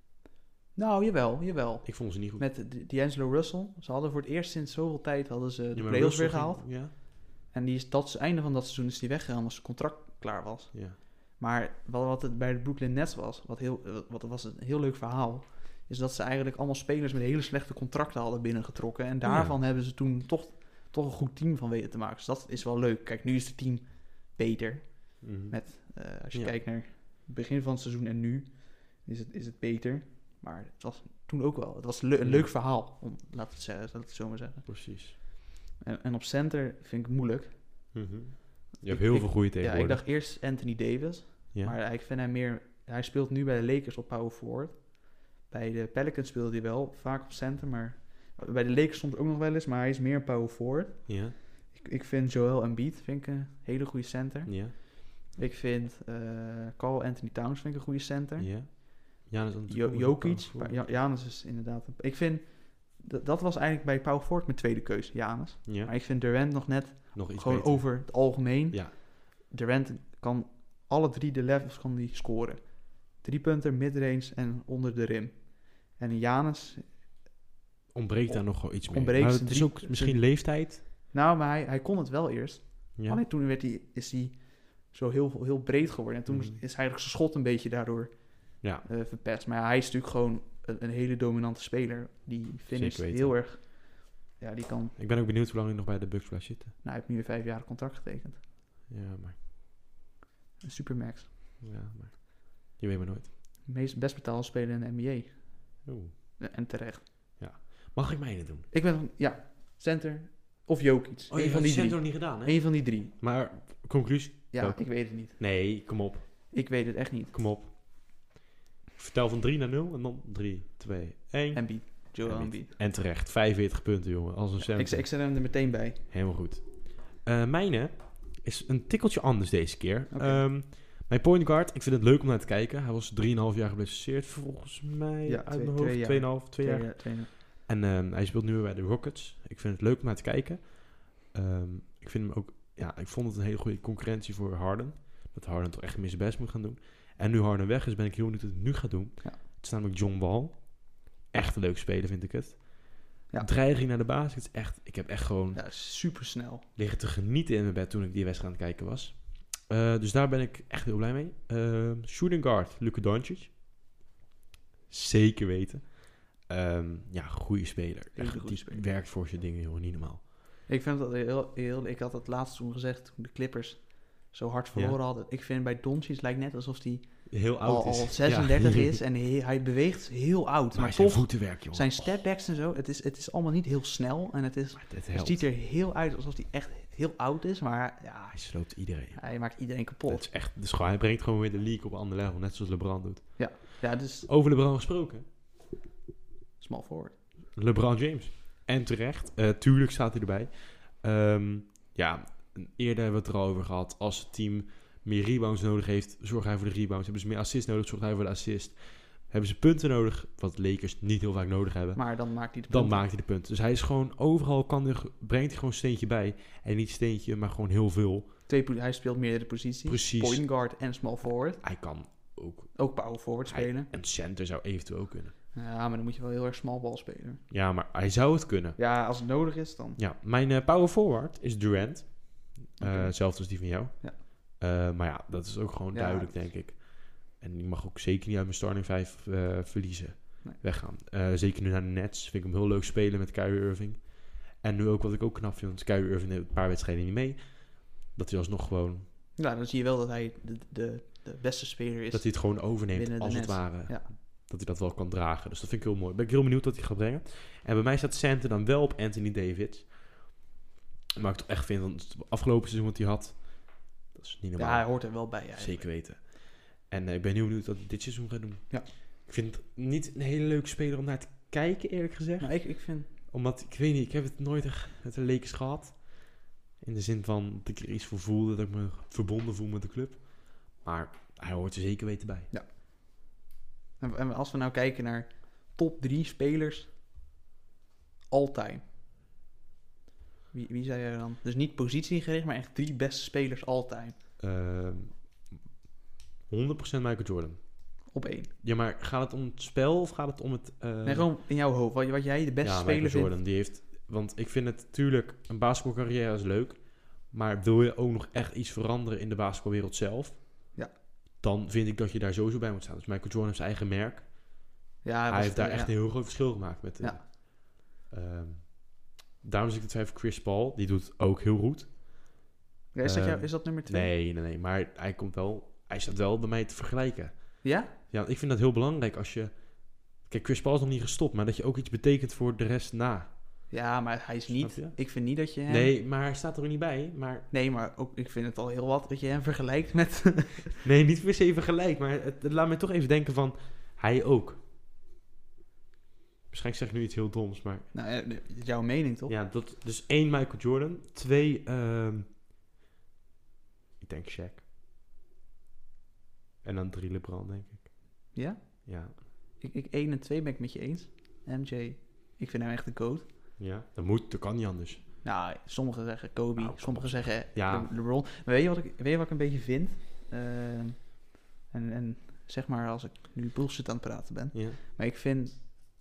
Nou, jawel, jawel. Ik vond ze niet goed. Met eh, D- D'Angelo Russell. Ze hadden voor het eerst sinds zoveel tijd hadden ze de Ja, maar playoffs Russell weer gehaald. ging- Ja, En die is dat is het einde van dat seizoen is die weggegaan omdat zijn contract klaar was. ja. Maar wat, wat het bij de Brooklyn Nets was, wat, heel, eh, wat was een heel leuk verhaal, is dat ze eigenlijk allemaal spelers met hele slechte contracten hadden binnengetrokken. Oh En daarvan hebben ze toen toch, toch een goed team van weten te maken. Dus dat is wel leuk. Kijk, nu is het team beter. Mhm. Met, eh, als je Ja. kijkt naar het begin van het seizoen en nu, is het, is het beter. Maar het was toen ook wel. Het was le- een Ja. leuk verhaal, om, laat, het, zeggen- laat het zo maar zeggen. Precies. En, en op center vind ik het moeilijk. Mhm. Je Ik- hebt heel ik- veel goede Ja, ik tegenwoordig. dacht eerst Anthony Davis. Ja. Maar ik vind hem meer... Hij speelt nu bij de Lakers op power forward. Bij de Pelicans speelde hij wel vaak op center, maar... Bij de Lakers stond er ook nog wel eens, maar hij is meer een power forward. ja, Ik, ik vind Joel Embiid vind ik een hele goede center. ja, Ik vind eh, Carl Anthony Towns vind ik een goede center. ja. Giannis Jo- Antetokounmpo. Jokic, ja, Janus is inderdaad... een- Ik vind... Dat, dat was eigenlijk bij power forward mijn tweede keuze, Janus. Ja, Maar ik vind Durant nog net nog iets gewoon beter. over het algemeen. Ja. Durant kan alle drie de levels kan die scoren. Drie punten, midrange en onder de rim. En Janus, Ontbreekt daar nog wel iets meer. Ontbreekt maar ze het is drie- ook misschien leeftijd. nou, maar hij, hij kon het wel eerst. Ja. Alleen toen werd hij, is hij zo heel, heel breed geworden. En toen is Mhm. is eigenlijk zijn schot een beetje daardoor Ja. eh, verpest. Maar ja, hij is natuurlijk gewoon een, een hele dominante speler. Die finish Zeker weten. heel erg ja, die kan... Ik ben ook benieuwd hoe lang hij nog bij de Bucks blijft zitten. Nou, hij heeft nu een vijf jaar contract getekend. Ja, maar... Een supermax. Ja, maar... Je weet maar nooit. De meest best betaalde speler in de NBA. Oeh. Eh, En terecht. Mag ik mijne doen? Ik ben van, ja, center of Oh, Jokic. Eén je van hebt die het drie. nog niet gedaan, hè? Eén van die drie. Maar, conclusie? Ja, Welke? ik weet het niet. Nee, kom op. Ik weet het echt niet. Kom op. Vertel van 3 naar 0 en dan 3, 2, 1. En, Embiid. Joel Embiid. Embiid. terecht. 45 punten, jongen. Als een cent. Ik, ik zet hem er meteen bij. Helemaal goed. Eh, mijne is een tikkeltje anders deze keer. Oké. Ehm, mijn point guard, ik vind het leuk om naar te kijken. Hij was 3,5 jaar geblesseerd, volgens mij. Ja, uit twee- mijn twee eh, hoofd. 2,5, jaar. 2 jaar. Tweede- tweede. En ehm, hij speelt nu weer bij de Rockets. Ik vind het leuk om naar te kijken. Ehm, ik vind hem ook... Ja, ik vond het een hele goede concurrentie voor Harden. Dat Harden toch echt meer zijn best moet gaan doen. En nu Harden weg is, ben ik heel benieuwd wat hij nu gaat doen. Ja. Het is namelijk John Wall. Echt een leuk speler, vind ik het. Ja. Dreiging naar de baas. Het is echt, ik heb echt gewoon Ja, super snel. liggen te genieten in mijn bed toen ik die wedstrijd aan het kijken was. Eh, dus daar ben ik echt heel blij mee. Eh, shooting guard, Luka Doncic. Zeker weten. Ehm, ja, goede speler. Hele Echt, goede die speler. werkt voor zijn dingen, jongen, niet normaal. Ik vind dat heel, heel... Ik had dat laatst toen gezegd, toen de Clippers zo hard verloren hadden. Ik vind bij Doncic lijkt net alsof hij Heel al, oud al is. 36 Ja. is en hij, hij beweegt heel oud. Maar, maar zijn toch, voetenwerk, jongen. zijn stepbacks en zo, het is, het is allemaal niet heel snel. En het, is, Maar dit het helpt. ziet er heel uit alsof hij echt heel oud is. Maar ja, Hij sloopt iedereen. hij maakt iedereen Dat kapot. is echt, dus gewoon, hij brengt gewoon weer de league op een ander level, net zoals LeBron doet. Ja, dus Over LeBron gesproken. small forward. LeBron James. En terecht. Eh, tuurlijk staat hij erbij. Ehm, ja, eerder hebben we het er al over gehad. Als het team meer rebounds nodig heeft, zorgt hij voor de rebounds. Hebben ze meer assists nodig, zorgt hij voor de assist. Hebben ze punten nodig, wat Lakers niet heel vaak nodig hebben, Maar dan maakt hij de dan punten. maakt hij de punten. Dus hij is gewoon overal, kan hij, brengt hij gewoon steentje bij. En niet steentje, maar gewoon heel veel. Twee, po- hij speelt meerdere posities. Precies. Point guard en small forward. Hij kan ook Ook power forward Hij- spelen. een center zou eventueel ook kunnen. Ja, maar dan moet je wel heel erg small ball spelen. Ja, maar hij zou het kunnen. Ja, als het nodig is, dan. Ja, mijn eh, power forward is Durant. Eh, Oké. Hetzelfde als die van jou. Ja. Eh, maar ja, dat is ook gewoon Ja, duidelijk, dat denk ik. En die mag ook zeker niet uit mijn starting 5 verliezen. Nee. Weggaan. Eh, zeker nu naar de Nets. Vind ik hem heel leuk spelen met Kyrie Irving. En nu ook wat ik ook knap vind, want Kyrie Irving neemt een paar wedstrijden niet mee. Dat hij alsnog gewoon, Nou, dan zie je wel dat hij de, de, de beste speler is. dat hij het gewoon binnen overneemt de als het Nets. ware. Ja. Dat hij dat wel kan dragen. Dus dat vind ik heel mooi. Ben ik heel benieuwd wat hij gaat brengen. En bij mij staat Center dan wel op Anthony David. Maar ik toch echt vind, want het afgelopen seizoen wat hij had, dat is niet normaal. ja, hij hoort er wel bij. eigenlijk. Zeker weten. En eh, ik ben heel benieuwd wat hij dit seizoen gaat doen. Ja. Ik vind het niet een hele leuke speler om naar te kijken, eerlijk gezegd. Maar ik, ik vind. Omdat, ik weet niet, ik heb het nooit echt met de Lakers gehad. In de zin van dat ik er iets voor voelde, dat ik me verbonden voel met de club. Maar hij hoort er zeker weten bij. En en als we nou kijken naar top drie spelers. All-time. Wie, wie zei jij dan? Dus niet positiegericht, maar echt drie beste spelers all-time. Ehm, 100% Michael Jordan. Op één. Ja, maar gaat het om het spel of gaat het om het... eh, nee, gewoon in jouw hoofd. Wat, wat jij de beste ja, speler Michael vindt. Jordan, die heeft... Want ik vind het natuurlijk, een basketbalcarrière is leuk. Maar wil je ook nog echt iets veranderen in de basketbalwereld zelf? Ja. Dan vind ik dat je daar sowieso bij moet staan. Dus Michael Jordan heeft zijn eigen merk. Ja, hij was heeft het, daar ja. echt een heel groot verschil gemaakt met... de- Ja. Ehm, daarom zit ik te twijfelen, Chris Paul, die doet het ook heel goed. Ja, is, dat jou- Ehm, is dat nummer twee? Nee, nee, nee. Maar hij komt wel... Hij staat wel bij mij te vergelijken. Ja? Ja, ik vind dat heel belangrijk als je... Kijk, Chris Paul is nog niet gestopt, maar dat je ook iets betekent voor de rest na. Ja, maar hij is Snap niet. je? Ik vind niet dat je hem. Nee, maar hij staat er ook niet bij. Maar... Nee, maar ook, ik vind het al heel wat dat je hem vergelijkt met... Nee, niet per se even gelijk, maar het, het laat me toch even denken van... Hij ook. Waarschijnlijk zeg ik nu iets heel doms, maar... nou, eh, dit is jouw mening, toch? Ja, dat, dus één Michael Jordan, twee... ehm, ik denk Shaq. En dan drie LeBron, denk ik. Ja? Ja, Ik, ik 1 en 2 ben ik met je eens. MJ, ik vind hem echt een goat. ja. Dat, moet, dat kan niet anders. Nou, sommigen zeggen Kobe, Nou, kom sommigen op. zeggen Ja. Le- LeBron. Maar weet je wat ik, weet je wat ik een beetje vind? Ehm, en, en zeg maar als ik nu bullshit aan het praten ben. Ja, Maar ik vind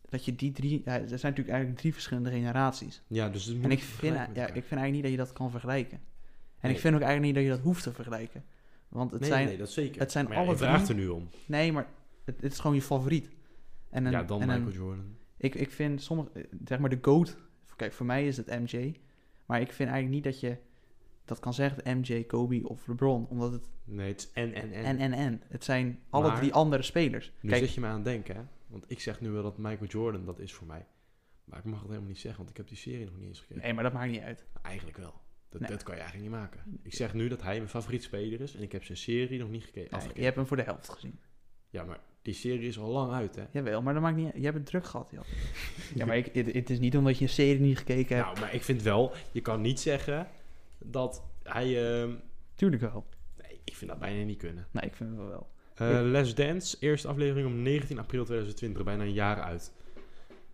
dat je die drie... Ja, er zijn natuurlijk eigenlijk drie verschillende generaties. ja dus het moet En ik vind, vergelijken ja, ik met vind elkaar. eigenlijk niet dat je dat kan vergelijken. En Nee. ik vind ook eigenlijk niet dat je dat hoeft te vergelijken. Want het nee, zijn... nee, dat zeker. het zijn maar ja, alle je vraagt drie- er nu om. Nee, maar het, het is gewoon je favoriet. En een, ja, dan en een- Michael Jordan. ik, ik vind sommige, eh, zeg maar de GOAT Kijk, voor mij is het MJ. Maar ik vind eigenlijk niet dat je dat kan zeggen, dat MJ, Kobe of LeBron. Omdat het Nee, het is en, en, en. en, en, en. Het zijn alle Maar- drie andere spelers. Nu Kijk, zit je me aan het denken, hè? Want ik zeg nu wel dat Michael Jordan dat is voor mij. Maar ik mag het helemaal niet zeggen, want ik heb die serie nog niet eens gekeken. nee, maar dat maakt niet uit. Eigenlijk wel. Dat, Nee. dat kan je eigenlijk niet maken. Ik zeg nu dat hij mijn favoriet speler is en ik heb zijn serie nog niet gekeken. Nee, afgekeken. je hebt hem voor de helft gezien. Ja, maar die serie is al lang uit, hè? Jawel, maar dat maakt niet uit. Je hebt het druk gehad, joh. ja, maar ik, het, het is niet omdat je een serie niet gekeken hebt. Nou, maar ik vind wel, je kan niet zeggen dat hij... ehm, Tuurlijk wel. nee, ik vind dat bijna niet kunnen. Nee, ik vind het wel wel. Eh Les Dance, eerste aflevering om 19 april 2020, bijna een jaar uit.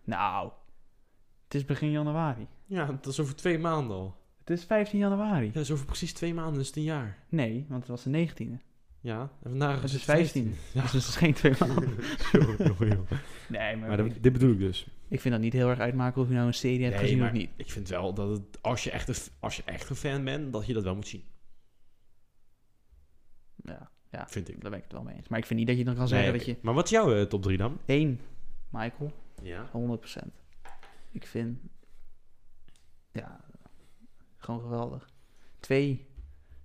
Nou, het is begin januari. Ja, dat is over twee maanden al. Het is 15 januari. Ja, dat is over precies twee maanden, dus het is een jaar. Nee, want het was de 19e. Ja, en vandaag Het is is het 15. 15. Dus het is geen twee maanden. Nee, maar, Maar dat- dit bedoel ik dus. ik vind dat niet heel erg uitmaken of je nou een serie hebt Nee, gezien maar of niet. Ik vind wel dat het, als, je echt een, f- als je echt een fan bent, dat je dat wel moet zien. Ja, ja, Vind ik. daar ben ik het wel mee eens. Maar ik vind niet dat je dan kan Nee, zeggen oké. dat je... Maar wat is jouw eh, top 3 dan? één Michael, Ja. 100%. Ik vind... Ja, gewoon geweldig. Twee,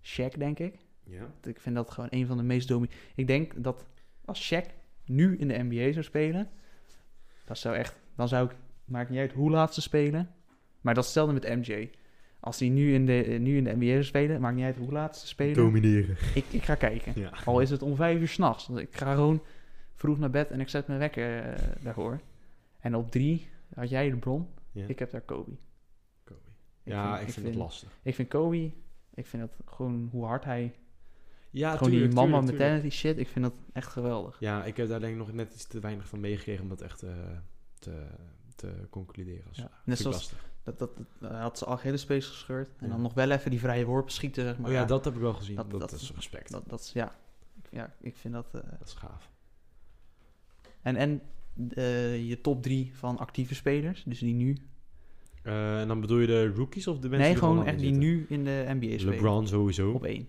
Shaq, denk ik. ja. Ik vind dat gewoon een van de meest domi... Ik denk dat als Shaq nu in de NBA zou spelen... Dat zou echt... Dan zou ik... Maakt niet uit hoe laat ze spelen. Maar dat stelde met MJ. Als hij nu in de, eh, nu in de NBA zou spelen... Maakt niet uit hoe laat ze spelen. Domineren. Ik, ik ga kijken. Ja. Al is het om vijf uur s'nachts. Ik ga gewoon vroeg naar bed en ik zet mijn wekker eh, daarvoor. En op drie had jij de bron. Ja. Ik heb daar Kobe. Ik Kobe. Ja, ik vind, het lastig. Ik vind Kobe... Ik vind dat gewoon hoe hard hij... Ja, gewoon tuurlijk, die mama tuurlijk, tuurlijk. mentality shit. Ik vind dat echt geweldig. Ja, ik heb daar denk ik nog net iets te weinig van meegekregen om dat echt eh, te, te concluderen. Als Ja. ja. Net zoals- Dat, dat, dat had ze al hele space gescheurd. En Ja. dan nog wel even die vrije worpen schieten, zeg maar. Maar Oh ja, dat heb ik wel gezien. dat- Dat, dat- is respect. Dat, Dat, dat is, ja. Ik- ja, ik vind dat... eh, is gaaf. En, en eh, je top drie van actieve spelers, dus die nu... Eh, en dan bedoel je de rookies of de mensen nee, die er al gewoon lang echt in die zitten? nu in de NBA spelen. LeBron sowieso. Op één.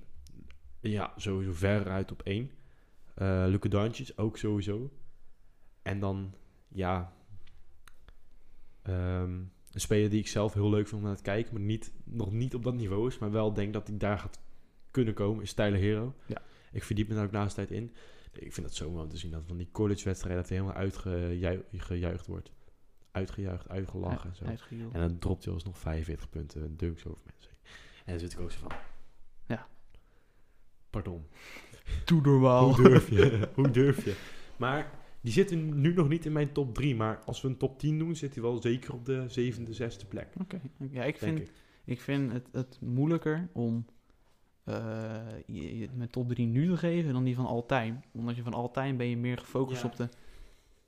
Ja, sowieso veruit op één. Eh Luka Doncic ook sowieso. En dan, ja... ehm, een speler die ik zelf heel leuk vind om naar te kijken, maar niet, nog niet op dat niveau is, maar wel denk dat hij daar gaat kunnen komen, is Tyler Hero. Ja. Ik verdiep me daar ook naast tijd in. Ik vind dat zo mooi om te zien, dat van die collegewedstrijden dat hij helemaal uitgejuicht wordt. Uitgejuicht, uitgelachen en zo. Uitgejoeld. En dan dropt hij alsnog 45 punten en dunks over mensen. En dan zit ik ook zo van... Ja. Oh. Pardon. Doe normaal. Hoe durf je? Hoe durf je? Maar die zitten nu nog niet in mijn top 3. Maar als we een top 10 doen, zit hij wel zeker op de zevende, zesde plek. Oké. Ja, ik Denk vind, ik. vind het, het moeilijker om eh, je, je- mijn top drie nu te geven dan die van all-time. Omdat je van all-time ben je meer gefocust Ja. op de...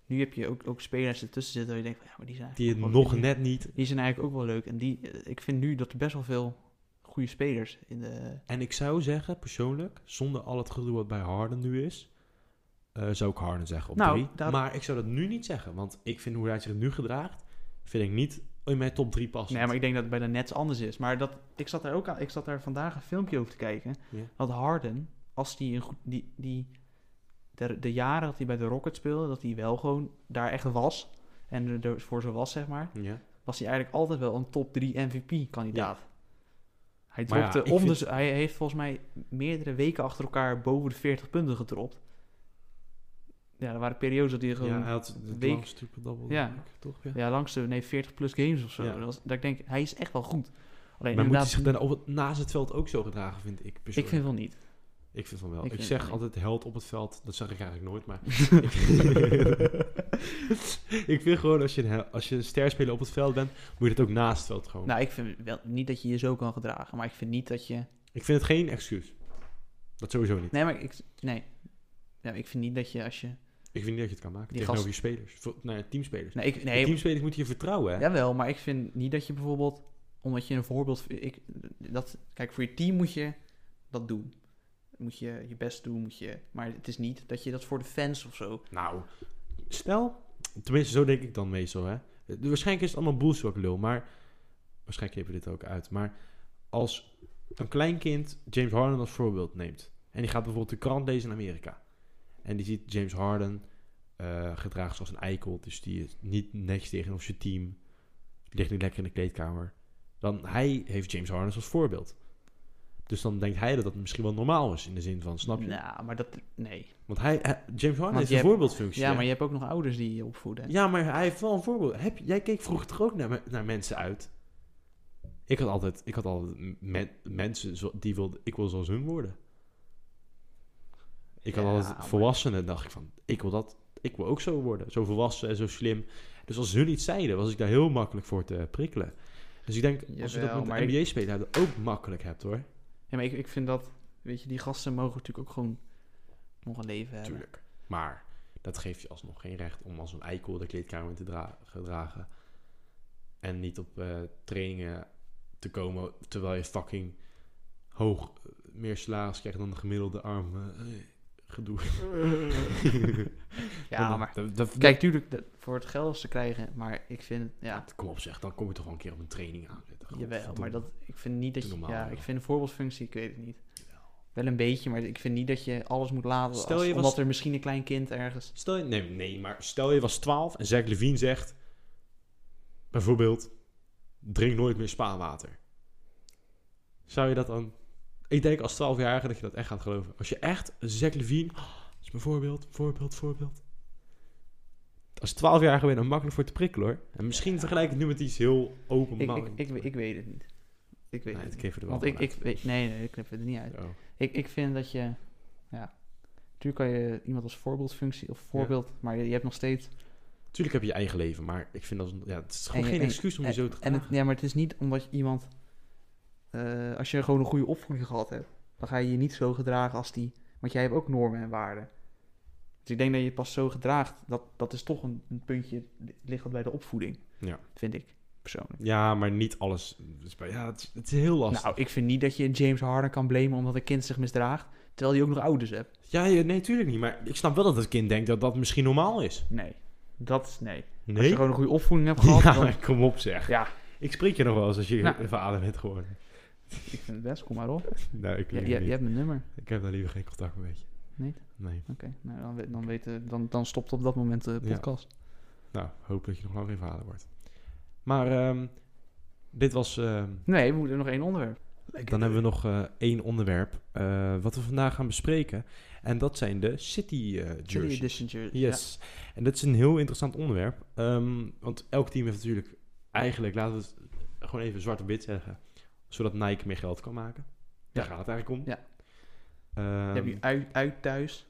Nu heb je ook, ook spelers ertussen zitten waar je denkt van... Ja, maar die zijn Die het eigenlijk wel nog leuk. net niet. Die zijn eigenlijk ook wel leuk. En die, eh, ik vind nu dat er best wel veel goede spelers in de... En ik zou zeggen, persoonlijk, zonder al het gedoe wat bij Harden nu is... eh, zou ik Harden zeggen op Nou, 3. daar- Maar ik zou dat nu niet zeggen. Want ik vind hoe hij zich nu gedraagt, vind ik niet in mijn top 3 passen. Nee, maar ik denk dat het bij de Nets anders is. Maar dat, ik zat daar ook aan, ik zat daar vandaag een filmpje over te kijken. Ja. Dat Harden, als die, een goed, die, die de, de jaren dat hij bij de Rockets speelde, dat hij wel gewoon daar echt was. En er, er voor zo was, zeg maar. Ja. Was hij eigenlijk altijd wel een top 3 MVP-kandidaat. Hij, Maar ja, dropte ik om vind- de- hij heeft volgens mij meerdere weken achter elkaar boven de 40 punten gedropt. Ja, er waren periodes dat hij gewoon... ja, hij had de week- langste triple double, Ja. toch? Ja. Ja, langs de nee, 40 plus games of zo. Ja. Dat was- dat ik denk, hij is echt wel goed. Alleen Maar moet hij inderdaad, zich dan op het, naast het veld ook zo gedragen, vind ik ik persoonlijk. vind wel niet. ik vind van wel. ik Ik, vind- zeg nee. altijd held op het veld. Dat zeg ik eigenlijk nooit, maar... ik vind gewoon, als je, een, hel- als je een ster spelen op het veld bent, moet je dat ook naast het veld gewoon. Nou, ik vind wel niet dat je je zo kan gedragen, maar ik vind niet dat je... Ik vind het geen excuus. Dat sowieso niet. Nee, maar ik, nee. Ja, ik vind niet dat je als je... Ik vind niet dat je het kan maken Die tegenover gast- je spelers. Voor, nou ja, teamspelers. Nee, ik, De nee teamspelers moeten je vertrouwen, hè? jawel, maar ik vind niet dat je bijvoorbeeld... Omdat je een voorbeeld... Ik, dat, kijk, voor je team moet je dat doen. Moet je je best doen, moet je... Maar het is niet dat je dat voor de fans of zo... Nou, stel, tenminste zo denk ik dan meestal, hè. Eh, Waarschijnlijk is het allemaal bullshit wat ik lul, maar waarschijnlijk heb je dit ook uit. Maar als een klein kind James Harden als voorbeeld neemt en die gaat bijvoorbeeld de krant lezen in Amerika en die ziet James Harden eh gedragen zoals een eikel, dus die is niet netjes tegenover zijn team, ligt nu lekker in de kleedkamer. Dan hij heeft James Harden als voorbeeld. Dus dan denkt hij dat dat misschien wel normaal is. In de zin van, snap je? Nou, maar dat... Nee. Want hij, hij- James Harden Want heeft je een hebt- voorbeeldfunctie. Ja, hè? maar je hebt ook nog ouders die je opvoeden. hè? Dus Ja, maar hij heeft wel een voorbeeld. Heb, jij keek vroeger toch ook naar, me- naar mensen uit? Ik had altijd, ik had altijd men- mensen zo- die wilde, ik wil zoals hun worden. Ik had Ja, altijd maar- volwassenen, dacht ik van, ik wil dat, ik wil ook zo worden. Zo volwassen en zo slim. Dus als hun iets zeiden, was ik daar heel makkelijk voor te prikkelen. Dus ik denk, als je Jawel, dat met maar ik- de NBA-speler ook makkelijk hebt hoor. Ja, maar ik, ik vind dat... Weet je, die gasten mogen natuurlijk ook gewoon nog een leven hebben. Tuurlijk. Maar dat geeft je alsnog geen recht om als een eikel de kleedkamer in te dra- gedragen. En niet op eh, trainingen te komen terwijl je fucking hoog eh, meer salaris krijgt dan de gemiddelde arm. eh, eh, gedoe. Ja, maar... Dat- dat- Kijk, tuurlijk, dat- voor het geld is te krijgen, maar ik vind... Ja, dat- Kom op zeg, dan kom je toch wel een keer op een training aan zitten. Jawel, maar dat, ik vind niet dat je... Doe normaal, ja, joh. ik vind een voorbeeldfunctie, ik weet het niet. Jawel. Wel een beetje, maar ik vind niet dat je alles moet laten Stel als- je was- omdat er misschien een klein kind ergens... Stel je, nee, nee, maar stel je was 12 en Zach Levine zegt... Bijvoorbeeld, drink nooit meer spaanwater. Zou je dat dan... Ik denk als 12-jarige dat je dat echt gaat geloven. Als je echt Zach Levine... Oh, dat is mijn voorbeeld, voorbeeld, voorbeeld. Als 12-jarige ben je dan makkelijk voor te prikkelen hoor. En misschien vergelijk ik het nu met iets heel open Ik, ik, ik, ik weet het niet. Ik weet nee, het het niet. geeft er wel Oh. Want ik, vanuit. ik weet... Nee, nee, ik knip het er niet uit. Zo. Ik, ik vind dat je... Ja. Natuurlijk kan je iemand als voorbeeldfunctie of voorbeeld, maar je, je hebt nog steeds... Tuurlijk heb je je eigen leven, maar ik vind dat... Ja, het is gewoon En je- geen en- excuus om je en- zo te En gedragen. het, ja, maar het is niet omdat je iemand... eh, als je gewoon een goede opvoeding gehad hebt, dan ga je je niet zo gedragen als die... Want jij hebt ook normen en waarden. Dus ik denk dat je pas zo gedraagt, dat, dat is toch een, een puntje, ligt dat bij de opvoeding. Ja. Vind ik, persoonlijk. Ja, maar niet alles. is bij- Ja, het is, het is heel lastig. Nou, ik vind niet dat je James Harden kan blamen omdat een kind zich misdraagt, terwijl hij ook nog ouders hebt. Ja, ja, nee, tuurlijk niet. Maar ik snap wel dat het kind denkt dat dat misschien normaal is. Nee, dat is nee. Als Nee? je gewoon een goede opvoeding hebt gehad, Ja, dan... maar kom op zeg. Ja, Ik spreek je nog wel eens als je Nou. vader bent geworden. ik vind het best, kom maar op. Nou, ik, Je, liever je, je niet. hebt mijn nummer. ik heb daar liever geen contact mee. weet je. Niet? Nee. Oké, nou, dan, we- dan, weten, dan, dan stopt op dat moment de Ja. podcast. Nou, hoop dat je nog lang geen vader wordt. Maar ehm, dit was... ehm, Nee, we moeten nog één onderwerp. dan hebben we nog eh, één onderwerp eh, wat we vandaag gaan bespreken. En dat zijn de city eh City jerseys. Edition jersey. Yes. En dat is een heel interessant onderwerp. Ehm, want elk team heeft natuurlijk eigenlijk, laten we het gewoon even zwart op wit zeggen, zodat Nike meer geld kan maken. Daar Ja. gaat het eigenlijk om. Ja. Ehm, Ja. Dan heb je uit, uit thuis,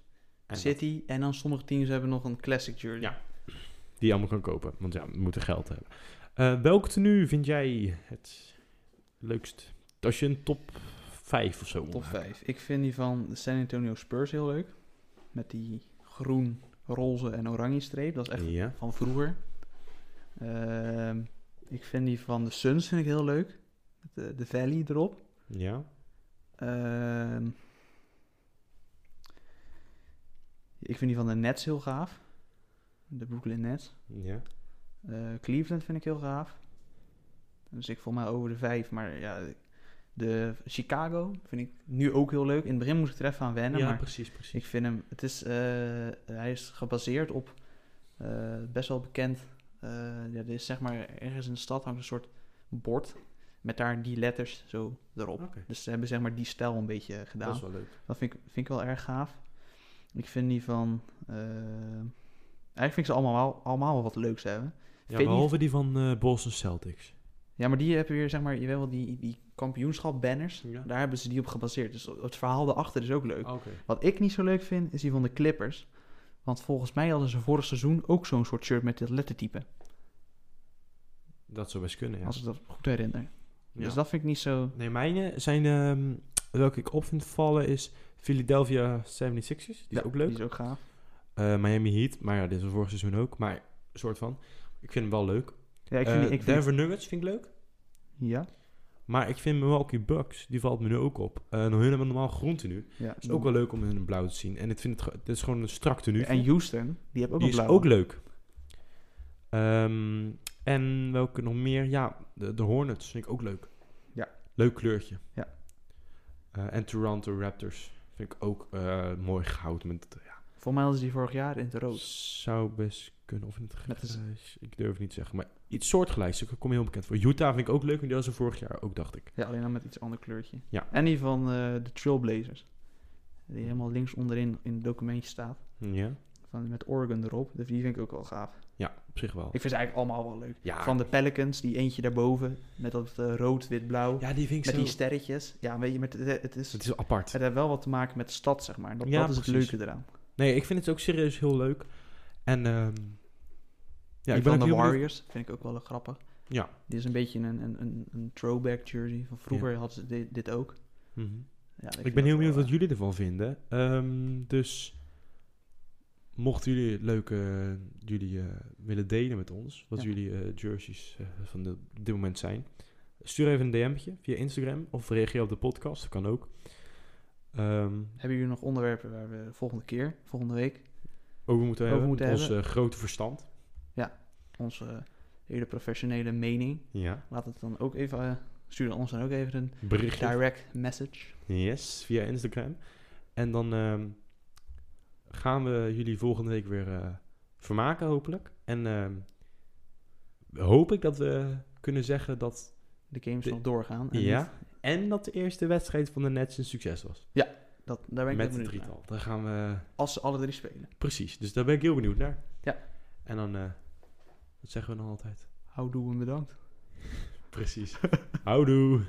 en City en dan sommige teams hebben nog een classic jersey. Ja. dat- die je allemaal kan kopen, want ja, we moeten geld hebben. Eh welk tenue vind jij het leukst? Als je een top 5 of zo moet Top maken. 5. Ik vind die van de San Antonio Spurs heel leuk. Met die groen, roze en oranje streep. Dat is echt Ja. van vroeger. Ehm, ik vind die van de Suns vind ik heel leuk. Met de, de Valley erop. ja. Ehm, ik vind die van de Nets heel gaaf. De Brooklyn Nets. Ja. Eh, Cleveland vind ik heel gaaf. Dus ik volgens mij over de vijf. Maar ja, de Chicago vind ik nu ook heel leuk. In het begin moest ik er even aan wennen. Ja, maar precies, precies. ik vind hem... Het is, eh, hij is gebaseerd op eh, best wel bekend... eh, ja, er is zeg maar ergens in de stad hangt een soort bord met daar die letters zo erop. Oké. Dus ze hebben zeg maar die stijl een beetje gedaan. Oh. Dat is wel leuk. Dat vind ik, vind ik wel erg gaaf. Ik vind die van... eh, eigenlijk vind ik ze allemaal wel, allemaal wel wat leuks hebben. Ja, Weet niet- behalve die van eh, Boston Celtics. Ja, maar die hebben weer, zeg maar, je weet wel, die, die kampioenschap-banners. Ja. Oh. Daar hebben ze die op gebaseerd. Dus het verhaal daarachter is ook leuk. Oké. Wat ik niet zo leuk vind, is die van de Clippers. Want volgens mij hadden ze vorig seizoen ook zo'n soort shirt met dit lettertype. Dat zou best kunnen, ja. Als ik dat goed herinner. Ja. Dus dat vind ik niet zo... Nee, mijne zijn... ehm, welke ik op vind vallen is Philadelphia 76ers. Die is Ja, ook leuk. Die is ook gaaf. Eh, Miami Heat. Maar ja, dit was vorig seizoen ook. Maar een soort van. Ik vind hem wel leuk. Ja, ik vind, Eh, die- ik vind Denver Nuggets vind ik leuk. Ja, Maar ik vind Milwaukee Bucks, die valt me nu ook op. Eh hun hebben normaal groen tenue. ja. Het is ook wel leuk om hun in blauw te zien. En ik vind het, ge- het is gewoon een strak tenue. En Houston, die heeft ook die een is blauwe. ook leuk. Ehm, en welke nog meer? Ja, de, de Hornets vind ik ook leuk. Ja. Leuk kleurtje. Ja. Eh, en Toronto Raptors vind ik ook eh, mooi gehouden. Met, ja, Voor mij hadden ze die vorig jaar in het rood. Zou best kunnen. Of in het Oh. Met de z- grijs. Ik durf het niet te zeggen. Maar iets soortgelijks. Ik kom heel bekend voor. Utah vind ik ook leuk. En die was er vorig jaar ook, dacht ik. Ja, alleen dan met iets ander kleurtje. Ja. En die van eh, de Trailblazers. Die helemaal links onderin in het documentje staat. Ja. Van, met Oregon erop. Dus die vind ik ook wel gaaf. Ja, op zich wel. Ik vind ze eigenlijk allemaal wel leuk. Ja. Van de Pelicans, die eentje daarboven. Met dat eh, rood, wit, blauw. Ja, die vind ik met zo... die sterretjes. Ja, weet je, met, het, het is, Het is apart. het heeft wel wat te maken met de stad, zeg maar. Dat, Ja, dat is het precies. leuke eraan. Nee, ik vind het ook serieus heel leuk. En ehm ja, die ik ben ook heel van de benieuwd- Warriors vind ik ook wel grappig. Ja. Die is een beetje een, een, een, een throwback jersey. Van vroeger hadden ze dit, dit ook. Mhm. Ja, Ik, ben vind dat heel benieuwd wel, eh, wat jullie ervan vinden. Ehm, dus mochten jullie het leuke jullie eh, willen delen met ons, wat Ja. jullie eh, jerseys eh, van de, op dit moment zijn, stuur even een DM'tje via Instagram of reageer op de podcast, dat kan ook. Ehm, eh, Hebben jullie nog onderwerpen waar we volgende keer, volgende week, over moeten we Over hebben, moeten met ons hebben. eh, grote verstand. onze eh, hele professionele mening. Ja. Laat het dan ook even, eh, stuur ons dan ook even een Berichtje. direct message. Yes, via Instagram. En dan ehm, gaan we jullie volgende week weer eh, vermaken, hopelijk. En ehm, hoop ik dat we kunnen zeggen dat... De games De- nog doorgaan. En ja. En dat de eerste wedstrijd van de Nets een succes was. Dat, daar ben ik met het ook benieuwd naar. drietal. Daar gaan we... Als ze alle drie spelen. Precies, dus daar ben ik heel benieuwd naar. Ja. En dan... eh, wat zeggen we dan altijd? Houdoe en bedankt. Precies. Houdoe!